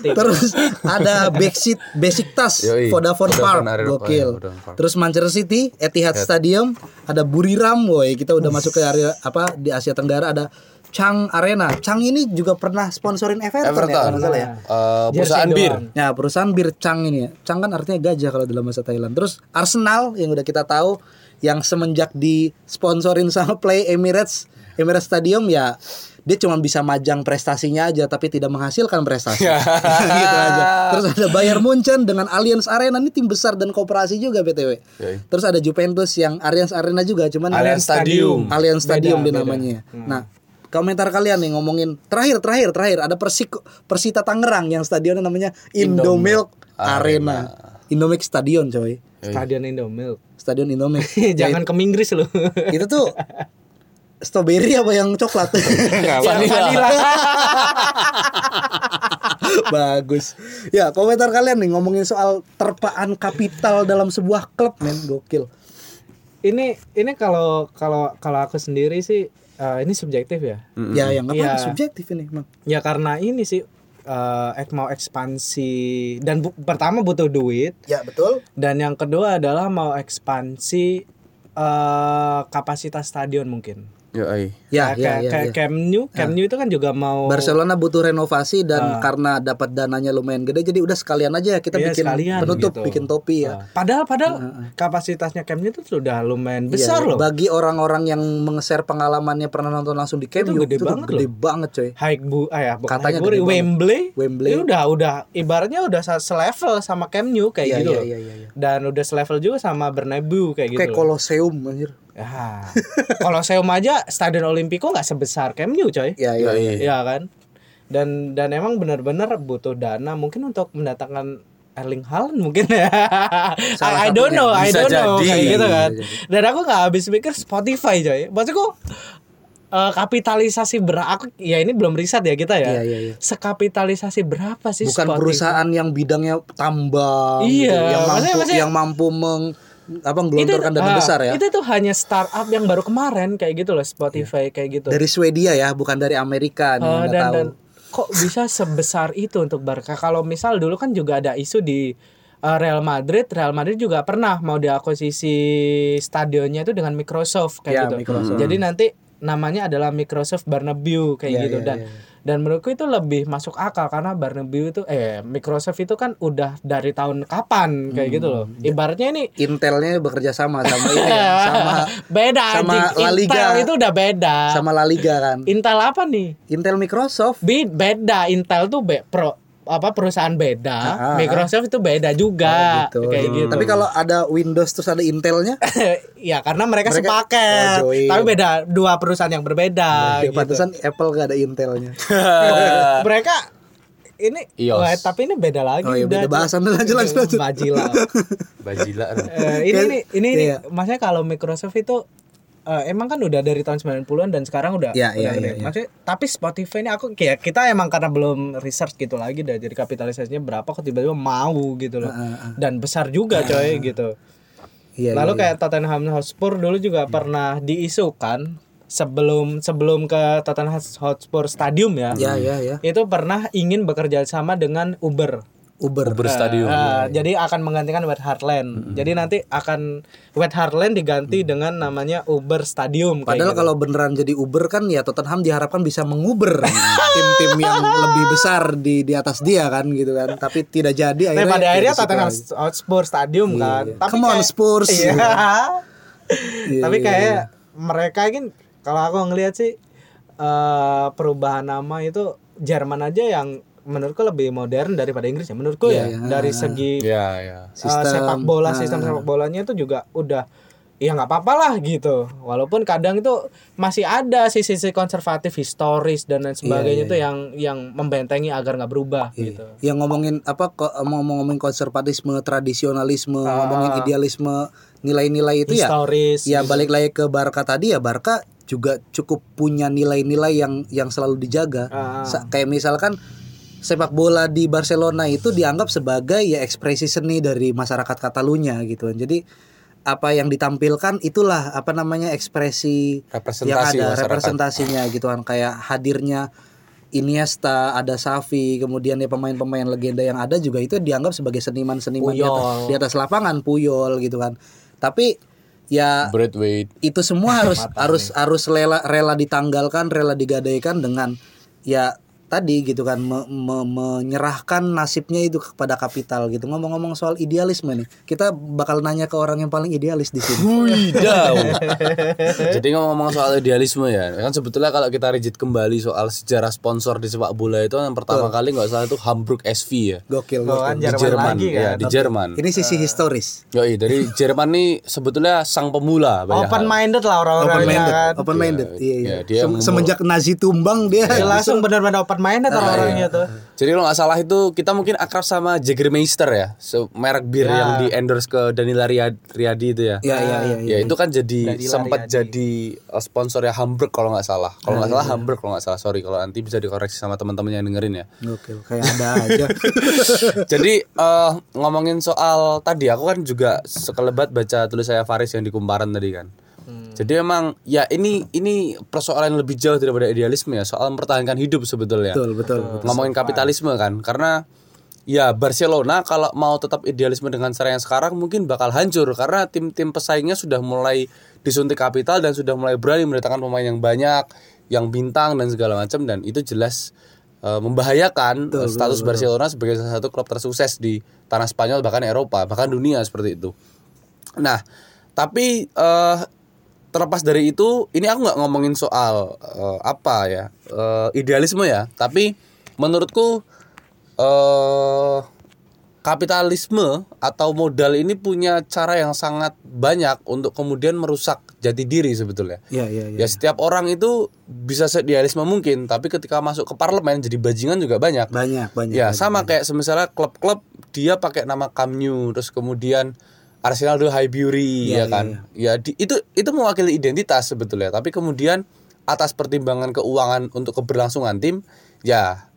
Speaker 2: Terus ada basic basic tas
Speaker 1: Yoi,
Speaker 2: Vodafone
Speaker 1: Vodafone
Speaker 2: Park
Speaker 1: Arena,
Speaker 2: gokil.
Speaker 1: iya, Vodafone Park.
Speaker 2: Terus Manchester City Etihad Stadium ada Buriram woi kita udah masuk ke area apa di Asia Tenggara ada Chang Arena. Chang ini juga pernah sponsorin Everton, ya kalau
Speaker 1: Everton.
Speaker 2: nggak salah ya.
Speaker 1: Eh, perusahaan
Speaker 3: Jersey
Speaker 1: bir.
Speaker 3: doang.
Speaker 2: Ya perusahaan bir Chang ini ya. Chang kan artinya gajah kalau dalam bahasa Thailand. Terus Arsenal yang udah kita tahu yang semenjak disponsorin sama Play Emirates Emirates Stadium ya dia cuma bisa majang prestasinya aja tapi tidak menghasilkan prestasi. gitu aja. Terus ada Bayern Munchen dengan Allianz Arena ini tim besar dan kooperasi juga BTW.
Speaker 1: Yoi.
Speaker 2: Terus ada Juventus yang Allianz Arena juga cuman
Speaker 1: Allianz Stadium.
Speaker 2: Allianz Stadium dia
Speaker 3: Beda, Hmm. beda.
Speaker 2: namanya. Nah, komentar kalian nih ngomongin terakhir terakhir terakhir ada Persik Persita Tangerang yang stadionnya namanya Indomilk Arena. Indomilk Stadion coy.
Speaker 3: Stadion Indomilk.
Speaker 2: Stadion Indomilk.
Speaker 3: Jangan ke Inggris lu.
Speaker 2: Itu tuh strawberry apa yang coklat? Iya.
Speaker 1: Vanilla.
Speaker 2: Bagus. Ya, komentar kalian nih ngomongin soal terpaan kapital dalam sebuah klub men gokil.
Speaker 3: ini ini kalau kalau kalau aku sendiri sih eh, ini subjektif ya.
Speaker 2: Ya, yang apa
Speaker 3: Iya.
Speaker 2: subjektif ini, Mang.
Speaker 3: Ya karena ini sih eh, ek mau ekspansi dan bu- pertama butuh duit
Speaker 2: Ya, betul.
Speaker 3: dan yang kedua adalah mau ekspansi eh kapasitas stadion mungkin.
Speaker 1: Yo, ai.
Speaker 2: Ya, ya,
Speaker 3: kayak
Speaker 2: ya.
Speaker 3: kayak
Speaker 2: ya.
Speaker 3: Camp Nou, Camp Nou itu kan juga mau
Speaker 2: Barcelona butuh renovasi dan karena dapat dananya lumayan gede jadi udah sekalian aja ya kita
Speaker 3: Ah. Iya,
Speaker 2: bikin
Speaker 3: sekalian
Speaker 2: penutup,
Speaker 3: gitu.
Speaker 2: bikin topi ya.
Speaker 3: Eh, padahal padahal kapasitasnya Camp Nou itu sudah lumayan
Speaker 2: ah. Iya,
Speaker 3: besar loh.
Speaker 2: Bagi orang-orang yang mengeser pengalamannya pernah nonton langsung di Camp Nou,
Speaker 3: Itu gede
Speaker 2: tuh
Speaker 3: banget
Speaker 2: gede banget coy.
Speaker 3: Hike bu, ah ya, bukan
Speaker 2: Katanya
Speaker 3: Hike Buri,
Speaker 2: gede banget.
Speaker 3: Wembley,
Speaker 2: Wembley.
Speaker 3: Ini udah udah ibaratnya udah se- selevel sama Camp Nou kayak
Speaker 2: Iya,
Speaker 3: gitu
Speaker 2: iya,
Speaker 3: loh.
Speaker 2: iya, iya, iya.
Speaker 3: Dan udah selevel juga sama Bernabeu kayak
Speaker 2: Kayak
Speaker 3: gitu. loh.
Speaker 2: Colosseum anjir.
Speaker 3: Ah. Kalau Seum aja Stadion Olimpico nggak sebesar Camp Nou, coy.
Speaker 2: Ya, ya.
Speaker 1: Yoi.
Speaker 3: Iya kan? Dan dan emang benar-benar butuh dana mungkin untuk mendatangkan Erling Haaland mungkin ya. I, I don't know, I
Speaker 1: Bisa
Speaker 3: don't know
Speaker 1: jadi.
Speaker 3: kayak gitu kan. Dan aku nggak habis mikir Spotify coy. Maksudku eh, kapitalisasi berapa aku ya ini belum riset ya kita ya.
Speaker 2: Iya, iya, iya.
Speaker 3: Sekapitalisasi berapa sih
Speaker 2: Bukan
Speaker 3: Spotify?
Speaker 2: perusahaan yang bidangnya tambang gitu,
Speaker 3: Iya,
Speaker 2: yang mampu
Speaker 3: maksudnya- maksudnya-
Speaker 2: yang mampu meng apa menggelontorkan dana
Speaker 3: ah,
Speaker 2: besar ya.
Speaker 3: Itu tuh hanya startup yang baru kemarin kayak gitu loh Spotify
Speaker 2: Iya.
Speaker 3: kayak gitu.
Speaker 2: Dari Swedia ya, bukan dari Amerika nih,
Speaker 3: Eh,
Speaker 2: Kan nggak
Speaker 3: dan,
Speaker 2: tahu.
Speaker 3: dan kok bisa sebesar itu untuk Barca? Kalau misal dulu kan juga ada isu di eh, Real Madrid, Real Madrid juga pernah mau diakuisisi stadionnya itu dengan Microsoft kayak
Speaker 2: Ya,
Speaker 3: gitu.
Speaker 2: Microsoft.
Speaker 3: Jadi nanti namanya adalah Microsoft Bernabeu kayak
Speaker 2: Ya,
Speaker 3: gitu
Speaker 2: ya,
Speaker 3: dan
Speaker 2: ya, ya.
Speaker 3: dan menurutku itu lebih masuk akal karena Bernabeu itu eh Microsoft itu kan udah dari tahun kapan kayak gitu loh.
Speaker 2: Hmm, ya.
Speaker 3: Ibaratnya ini
Speaker 2: Intelnya bekerja sama sama ini ya, sama
Speaker 3: beda
Speaker 2: sama
Speaker 3: anjing.
Speaker 2: La Liga.
Speaker 3: Intel itu udah beda.
Speaker 2: sama La Liga kan.
Speaker 3: Intel apa nih?
Speaker 2: Intel Microsoft.
Speaker 3: Be- beda Intel tuh be- pro apa perusahaan beda,
Speaker 2: Ah, ah,
Speaker 3: Microsoft itu beda juga
Speaker 2: Gitu.
Speaker 3: kayak gitu.
Speaker 2: Tapi kalau ada Windows terus ada Intelnya,
Speaker 3: ya karena mereka,
Speaker 2: Mereka-
Speaker 3: sepaket,
Speaker 2: Oh, join.
Speaker 3: tapi beda dua perusahaan yang berbeda.
Speaker 2: ya
Speaker 3: gitu.
Speaker 2: pantesan Apple gak ada Intelnya.
Speaker 3: mereka ini
Speaker 1: iOS.
Speaker 3: Wah, tapi ini beda lagi
Speaker 2: Oh, iya, beda bahasan. Lanjut, lanjut, Iya, lanjut.
Speaker 3: Bajilah.
Speaker 1: Bajila.
Speaker 3: Eh, ini ini ini, ini-
Speaker 2: Iya.
Speaker 3: maksudnya kalau Microsoft itu eh, emang kan udah dari tahun 90-an dan sekarang udah
Speaker 2: Iya,
Speaker 3: udah
Speaker 2: iya,
Speaker 3: gede.
Speaker 2: iya, iya.
Speaker 3: Maksudnya tapi Spotify ini aku kayak kita emang karena belum research gitu lagi dah jadi kapitalisasinya berapa kok tiba-tiba mau gitu loh. Dan besar juga coy gitu.
Speaker 2: Iya.
Speaker 3: Lalu
Speaker 2: iya,
Speaker 3: kayak Tottenham Hotspur dulu juga pernah diisukan sebelum sebelum ke Tottenham Hotspur Stadium ya.
Speaker 2: iya. ya ya ya.
Speaker 3: Itu pernah ingin bekerja sama dengan Uber.
Speaker 2: Uber.
Speaker 1: Uber
Speaker 2: Iya,
Speaker 1: Stadium.
Speaker 3: Nah, jadi akan menggantikan Wet Heartland. Jadi nanti akan Wet Heartland diganti dengan namanya Uber Stadium. kayak
Speaker 2: Mm. Padahal
Speaker 3: gitu.
Speaker 2: kalau beneran jadi Uber kan ya Tottenham diharapkan bisa menguber tim-tim yang lebih besar di di atas dia kan gitu kan. Tapi tidak jadi
Speaker 3: Tapi
Speaker 2: akhirnya.
Speaker 3: Eh, pada akhirnya
Speaker 2: ya di situ
Speaker 3: Tottenham
Speaker 2: lagi.
Speaker 3: Hotspur Stadium kan. Tapi
Speaker 2: Iya, Come on, Spurs.
Speaker 3: Iya.
Speaker 2: Iya.
Speaker 3: Tapi
Speaker 2: iya,
Speaker 3: kayak mereka kan kalau aku ngelihat sih eh, perubahan nama itu Jerman aja yang menurutku lebih modern daripada Inggris ya menurutku ya
Speaker 2: iya.
Speaker 3: dari segi
Speaker 1: Iya, iya.
Speaker 3: eh, sepak bola
Speaker 2: nah,
Speaker 3: sistem sepak bolanya itu juga udah ya nggak apa-apa lah gitu walaupun kadang itu masih ada sisi-sisi konservatif historis
Speaker 2: Iya,
Speaker 3: dan lain sebagainya itu yang yang membentengi agar nggak berubah gitu
Speaker 2: Yang ngomongin apa kok ngomongin konservatisme, tradisionalisme,
Speaker 3: Ah.
Speaker 2: ngomongin idealisme, nilai-nilai itu ya.
Speaker 3: historis
Speaker 2: Ya balik lagi ke Barca tadi ya Barca juga cukup punya nilai-nilai yang yang selalu dijaga.
Speaker 1: Ah,
Speaker 2: Sa- kayak misalkan sepak bola di Barcelona itu dianggap sebagai ya ekspresi seni dari masyarakat Katalunya gitu. Jadi apa yang ditampilkan itulah apa namanya ekspresi yang
Speaker 1: Representasi
Speaker 2: ada
Speaker 1: masyarakat.
Speaker 2: representasinya gitu kan kayak hadirnya Iniesta, ada Xavi, kemudian ya pemain-pemain legenda yang ada juga itu dianggap sebagai seniman-seniman di atas, di atas lapangan Puyol gitu kan. Tapi ya
Speaker 1: Braithwaite.
Speaker 2: itu semua harus harus harus rela rela ditanggalkan rela digadaikan dengan ya tadi gitu kan me- me- menyerahkan nasibnya itu kepada kapital gitu ngomong-ngomong soal idealisme nih kita bakal nanya ke orang yang paling idealis di sini
Speaker 1: Widau. Jadi ngomong-ngomong soal idealisme ya, kan sebetulnya kalau kita rigid kembali soal sejarah sponsor di sepak bola itu yang pertama kali nggak salah itu Hamburg SV ya.
Speaker 2: gokil,
Speaker 3: Oh,
Speaker 2: gokil.
Speaker 3: kan
Speaker 1: Di
Speaker 3: Jerman
Speaker 1: Jerman,
Speaker 3: lagi
Speaker 1: ya,
Speaker 3: kan.
Speaker 1: di Jerman.
Speaker 2: ini sisi historis
Speaker 1: Yoi, dari Jerman nih sebetulnya sang pemula banyak.
Speaker 3: open
Speaker 1: hal.
Speaker 3: minded lah orang-orang
Speaker 2: open
Speaker 3: ya
Speaker 2: minded
Speaker 3: kan
Speaker 2: open minded iya, iya.
Speaker 1: iya, dia Iya.
Speaker 2: Sem-
Speaker 1: memul-
Speaker 2: semenjak Nazi tumbang dia
Speaker 3: Ya, langsung benar-benar open minded
Speaker 2: Nah, iya.
Speaker 3: orang-orangnya tuh
Speaker 1: Jadi kalau nggak salah itu kita mungkin akrab sama Jägermeister ya, se- merek bir
Speaker 3: Ya.
Speaker 1: yang di endorse ke Danila Ria- Riyadi itu ya.
Speaker 2: ya ya ya, ya.
Speaker 1: Ya itu kan jadi sempat jadi uh, sponsornya Hamburg kalau nggak salah.
Speaker 3: Ya,
Speaker 1: Kalau nggak salah Hamburg kalau nggak salah. Sorry kalau nanti bisa dikoreksi sama teman-teman yang dengerin ya.
Speaker 2: gokil kayak ada aja
Speaker 1: Jadi eh, ngomongin soal tadi aku kan juga sekelebat baca tulis saya Faris yang di kumparan tadi kan. Jadi emang ya ini ini persoalan yang lebih jauh daripada idealisme ya soal mempertahankan hidup sebetulnya.
Speaker 2: betul betul
Speaker 1: Gitu. Ngomongin kapitalisme kan karena ya Barcelona kalau mau tetap idealisme dengan cara yang sekarang mungkin bakal hancur karena tim-tim pesaingnya sudah mulai disuntik kapital dan sudah mulai berani mendatangkan pemain yang banyak, yang bintang dan segala macam dan itu jelas eh, membahayakan eh, status Barcelona sebagai salah satu klub tersukses di tanah Spanyol bahkan Eropa, bahkan dunia seperti itu. Nah, tapi eh terlepas dari itu, ini aku nggak ngomongin soal eh, apa ya eh, idealisme ya, tapi menurutku eh kapitalisme atau modal ini punya cara yang sangat banyak untuk kemudian merusak jati diri sebetulnya.
Speaker 2: ya ya ya
Speaker 1: Ya setiap orang itu bisa seidealisme mungkin, tapi ketika masuk ke parlemen jadi bajingan juga banyak.
Speaker 2: banyak banyak
Speaker 1: Ya sama kayak semisalnya klub-klub dia pakai nama Camp Nou terus kemudian Arsenal dulu Highbury ya kan. Ya di- itu itu mewakili identitas sebetulnya, tapi kemudian atas pertimbangan keuangan untuk keberlangsungan tim ya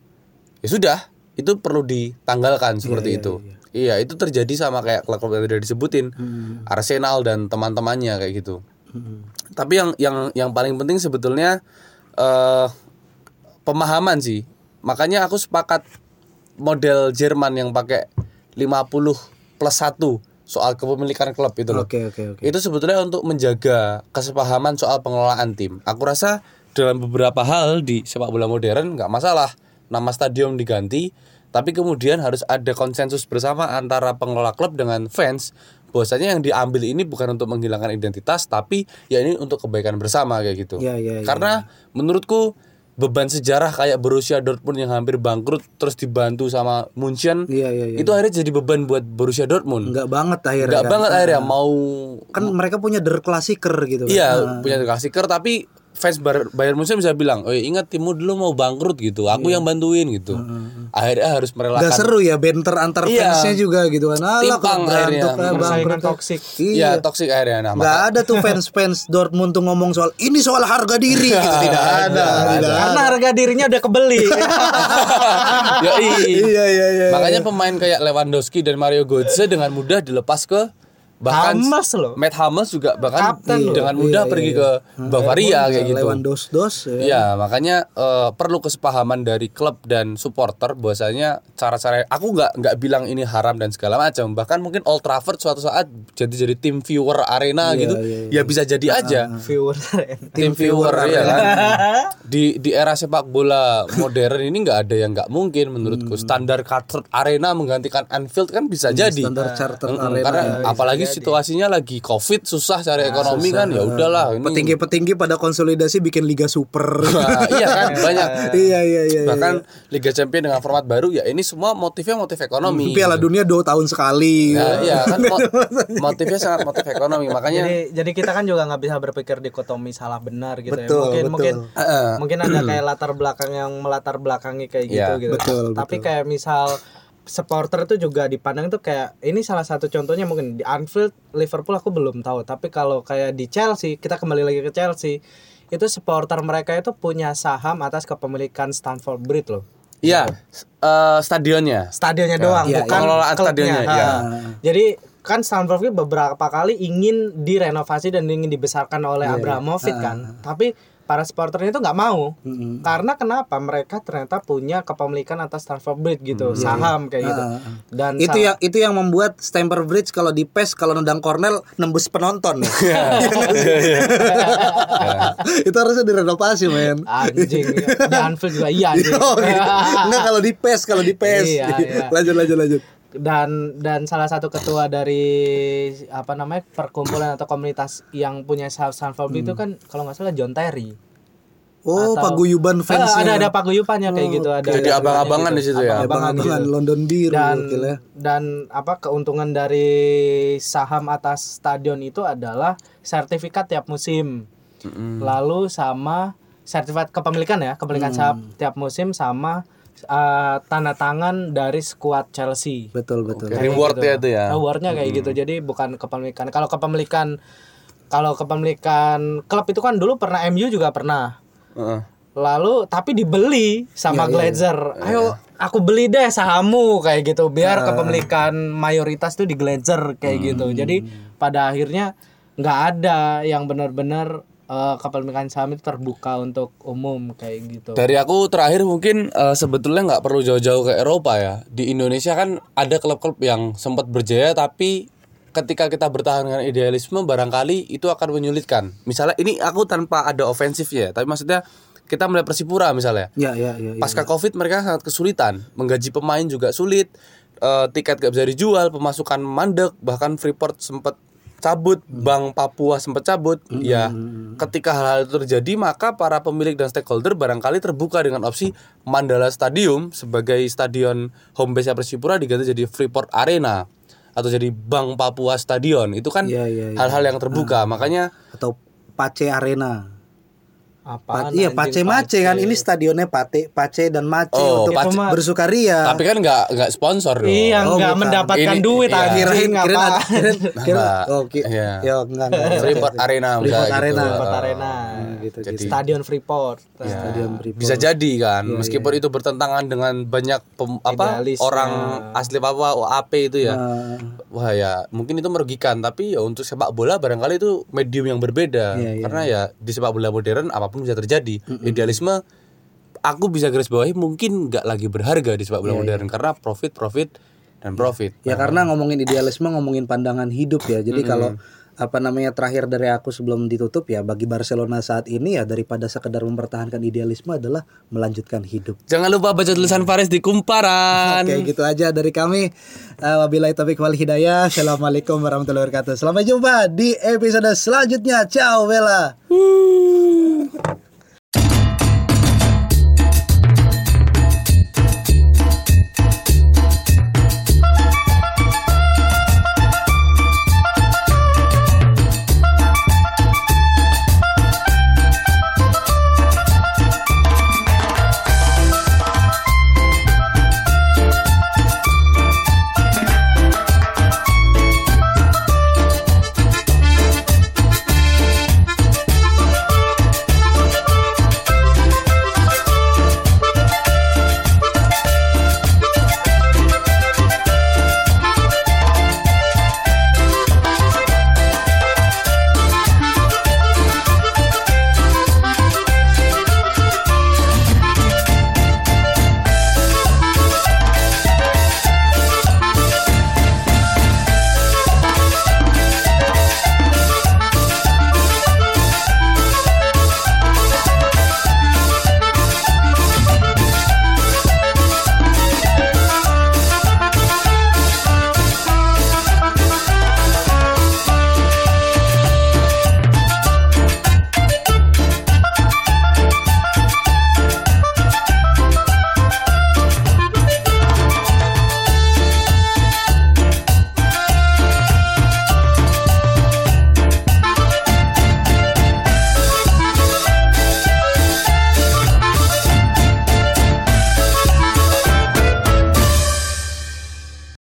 Speaker 1: ya sudah itu perlu ditanggalkan seperti itu. Iya, itu terjadi sama kayak klub-klub yang tadi disebutin Hmm. Arsenal dan teman-temannya kayak gitu. Tapi yang yang yang paling penting sebetulnya eh pemahaman sih. Makanya aku sepakat model Jerman yang pakai 50 plus 1 soal kepemilikan klub itu loh.
Speaker 2: oke oke oke
Speaker 1: Itu sebetulnya untuk menjaga kesepahaman soal pengelolaan tim. Aku rasa dalam beberapa hal di sepak bola modern nggak masalah nama stadion diganti, tapi kemudian harus ada konsensus bersama antara pengelola klub dengan fans. Bahwasanya yang diambil ini bukan untuk menghilangkan identitas, tapi ya ini untuk kebaikan bersama kayak gitu.
Speaker 2: Ya, ya, ya.
Speaker 1: Karena menurutku beban sejarah kayak Borussia Dortmund yang hampir bangkrut terus dibantu sama Munchen,
Speaker 2: Iya, iya, iya.
Speaker 1: itu akhirnya jadi beban buat Borussia Dortmund.
Speaker 2: Enggak banget akhirnya.
Speaker 1: Enggak
Speaker 2: kan.
Speaker 1: banget akhirnya mau
Speaker 2: Kan mereka punya der klasiker gitu kan.
Speaker 1: iya punya klasiker tapi fans Bar- Bayern Munchen bisa bilang, "Oh, ingat timmu dulu mau bangkrut gitu. Aku yang bantuin gitu." Akhirnya harus
Speaker 2: Gak
Speaker 1: merelakan
Speaker 2: seru ya benter antar
Speaker 1: Iya.
Speaker 2: fansnya juga gitu kan. Alah,
Speaker 1: Timpang
Speaker 2: kalau berantuk,
Speaker 1: akhirnya.
Speaker 2: eh,
Speaker 3: persaingan
Speaker 2: bangkrut.
Speaker 3: toksik
Speaker 2: Iya.
Speaker 1: Iya, toksik akhirnya nah,
Speaker 2: Gak
Speaker 1: maka-
Speaker 2: ada tuh fans-fans Dortmund tuh ngomong soal ini soal harga diri gitu. Tidak ada, tidak
Speaker 3: karena
Speaker 2: ada.
Speaker 3: harga dirinya udah kebeli
Speaker 1: Yoi.
Speaker 2: Iya, iya, iya.
Speaker 1: Makanya pemain kayak Lewandowski dan Mario Götze dengan mudah dilepas ke bahkan
Speaker 3: Hummels loh.
Speaker 1: Matt Hummels juga bahkan
Speaker 3: Kapten loh.
Speaker 1: dengan mudah pergi ke Bavaria kayak gitu.
Speaker 2: Lewan dos-dos ya.
Speaker 1: Iya, makanya eh, perlu kesepahaman dari klub dan supporter bahwasanya cara-cara aku nggak nggak bilang ini haram dan segala macam. Bahkan mungkin Old Trafford suatu saat jadi jadi tim viewer arena gitu. Ya bisa jadi aja.
Speaker 3: viewer
Speaker 1: Tim viewer ya kan.
Speaker 2: Iya.
Speaker 1: Di di era sepak bola modern ini nggak ada yang nggak mungkin menurutku. Standar Carter Arena menggantikan Anfield kan bisa jadi.
Speaker 2: Standar Chartered
Speaker 1: Mm-mm,
Speaker 2: Arena.
Speaker 1: Karena apalagi situasinya lagi Covid susah cari ekonomi kan ya udahlah ini.
Speaker 2: Petinggi-petinggi pada konsolidasi bikin Liga Super.
Speaker 1: Nah, iya kan banyak.
Speaker 2: iya iya iya.
Speaker 1: Bahkan Liga Champion dengan format baru ya ini semua motifnya motif ekonomi.
Speaker 2: Piala Dunia dua tahun sekali.
Speaker 1: Ya, iya kan mo- motifnya sangat motif ekonomi makanya
Speaker 3: jadi jadi kita kan juga nggak bisa berpikir dikotomi salah benar gitu
Speaker 2: Betul,
Speaker 3: ya mungkin
Speaker 2: betul.
Speaker 3: mungkin
Speaker 1: Heeh.
Speaker 3: mungkin ada kayak latar belakang yang melatar belakangi kayak gitu
Speaker 1: Iya,
Speaker 3: gitu
Speaker 2: betul,
Speaker 3: tapi kayak misal supporter itu juga dipandang tuh kayak ini salah satu contohnya mungkin di Anfield Liverpool aku belum tahu tapi kalau kayak di Chelsea kita kembali lagi ke Chelsea itu supporter mereka itu punya saham atas kepemilikan Stamford Bridge loh
Speaker 1: iya eh, stadionnya
Speaker 3: stadionnya doang
Speaker 1: iya,
Speaker 3: bukan
Speaker 1: pengelolaan
Speaker 3: klubnya.
Speaker 1: stadionnya,
Speaker 3: Ha.
Speaker 1: iya.
Speaker 3: jadi kan Stamford Bridge beberapa kali ingin direnovasi dan ingin dibesarkan oleh Abramovich kan tapi para supporternya itu nggak mau karena kenapa mereka ternyata punya kepemilikan atas Stamford Bridge gitu saham kayak gitu dan
Speaker 2: Itu ya.
Speaker 3: saham-
Speaker 2: yang itu yang membuat Stamford Bridge kalau di PES kalau nendang Cornell nembus penonton. Iya nggak sih? itu harusnya direnovasi, men.
Speaker 3: anjing di Anfield juga iya anjing.
Speaker 2: Oh, gitu. Enggak kalau di PES, kalau di PES.
Speaker 3: Iya, iya.
Speaker 2: Lanjut lanjut lanjut.
Speaker 3: dan dan salah satu ketua dari apa namanya perkumpulan atau komunitas yang punya saham Stamford Bridge itu kan kalau nggak salah John Terry
Speaker 1: Eh,
Speaker 2: Oh,
Speaker 3: Atau-
Speaker 2: paguyuban fans. ya.
Speaker 3: Ah, ada ada paguyupannya kayak gitu ada
Speaker 1: Jadi
Speaker 3: ada-
Speaker 1: abang-abangan
Speaker 3: gitu.
Speaker 1: di situ ya?
Speaker 3: Abang-abangan
Speaker 2: Abang-abangan Eh,
Speaker 3: gitu.
Speaker 2: London Beer
Speaker 3: dan
Speaker 2: gokil ya.
Speaker 3: dan apa keuntungan dari saham atas stadion itu adalah sertifikat tiap musim lalu sama sertifikat kepemilikan ya kepemilikan saham tiap musim sama eh, tanda tangan dari skuad Chelsea
Speaker 2: Betul betul.
Speaker 1: Oke, rewardnya itu ya
Speaker 3: awardnya kayak gitu jadi bukan kepemilikan kalau kepemilikan kalau kepemilikan klub itu kan dulu pernah MU juga pernah
Speaker 1: Heeh.
Speaker 3: lalu tapi dibeli
Speaker 2: Iya,
Speaker 3: sama Glazer. Ayo aku beli deh sahammu kayak gitu
Speaker 2: Nah.
Speaker 3: biar kepemilikan mayoritas tuh di Glazer kayak gitu.
Speaker 2: Hmm.
Speaker 3: Jadi pada akhirnya nggak ada yang benar-benar eh, kepemilikan saham itu terbuka untuk umum kayak gitu.
Speaker 1: Dari aku terakhir mungkin eh, sebetulnya nggak perlu jauh-jauh ke Eropa ya. Di Indonesia kan ada klub-klub yang sempat berjaya tapi ketika kita bertahan dengan idealisme barangkali itu akan menyulitkan. Misalnya ini aku tanpa ada ofensif ya, tapi maksudnya kita melihat Persipura misalnya.
Speaker 2: Ya ya ya. ya.
Speaker 1: Pasca Covid mereka sangat kesulitan, menggaji pemain juga sulit, eh, tiket gak bisa dijual, pemasukan mandek, bahkan Freeport sempat cabut,
Speaker 2: Hmm.
Speaker 1: Bank Papua sempat cabut. Ya, ketika hal-hal itu terjadi maka para pemilik dan stakeholder barangkali terbuka dengan opsi Mandala Stadium sebagai stadion home base Persipura diganti jadi Freeport Arena atau jadi Bank Papua Stadion. Itu kan
Speaker 2: Iya, iya, iya.
Speaker 1: hal-hal yang terbuka. Makanya
Speaker 2: Atau Pace Arena. Pa-
Speaker 3: Apaan
Speaker 2: iya Pace
Speaker 3: anjing,
Speaker 2: Mace kan ini stadionnya Pate Pace dan Mace
Speaker 1: Oh,
Speaker 2: Iya, untuk
Speaker 1: Pace.
Speaker 2: bersukaria.
Speaker 1: tapi kan nggak nggak sponsor dong.
Speaker 3: Iya
Speaker 2: Oh,
Speaker 3: nggak
Speaker 2: bukan.
Speaker 3: mendapatkan
Speaker 1: Ini-
Speaker 3: duit
Speaker 1: iya.
Speaker 3: anjing
Speaker 2: kirain kirain
Speaker 3: apaan.
Speaker 2: ada- kirain kirain
Speaker 1: Nah, Enggak.
Speaker 2: oh, ki-
Speaker 1: Iya.
Speaker 2: ya enggak enggak, enggak.
Speaker 1: Freeport Arena
Speaker 2: Freeport
Speaker 1: misalnya
Speaker 2: Arena.
Speaker 1: gitu.
Speaker 3: Freeport
Speaker 1: Ah,
Speaker 3: Arena.
Speaker 2: gitu,
Speaker 1: jadi-
Speaker 3: Stadion Freeport.
Speaker 1: Ya,
Speaker 2: Stadion Freeport.
Speaker 1: bisa jadi kan
Speaker 2: Iya,
Speaker 1: meskipun itu bertentangan dengan banyak pem- apa
Speaker 3: Idealisnya.
Speaker 1: orang
Speaker 2: iya.
Speaker 1: asli Papua OAP itu ya
Speaker 2: Ah.
Speaker 1: wah ya mungkin itu merugikan tapi ya untuk sepak bola barangkali itu medium yang berbeda
Speaker 2: Iya, iya.
Speaker 1: karena ya di sepak bola modern apapun bisa terjadi idealisme aku bisa garis bawahi mungkin nggak lagi berharga di sepak bola
Speaker 2: Iya,
Speaker 1: modern karena profit profit dan profit
Speaker 2: Ya karena ngomongin idealisme ngomongin pandangan hidup ya. Jadi kalau apa namanya terakhir dari aku sebelum ditutup ya bagi Barcelona saat ini ya daripada sekedar mempertahankan idealisme adalah melanjutkan hidup.
Speaker 1: jangan lupa baca tulisan Faris di kumparan
Speaker 2: Oke gitu aja dari kami. Eh, Wabillahi taufiq wal hidayah. Assalamualaikum warahmatullahi wabarakatuh. Sampai jumpa di episode selanjutnya. Ciao Bella.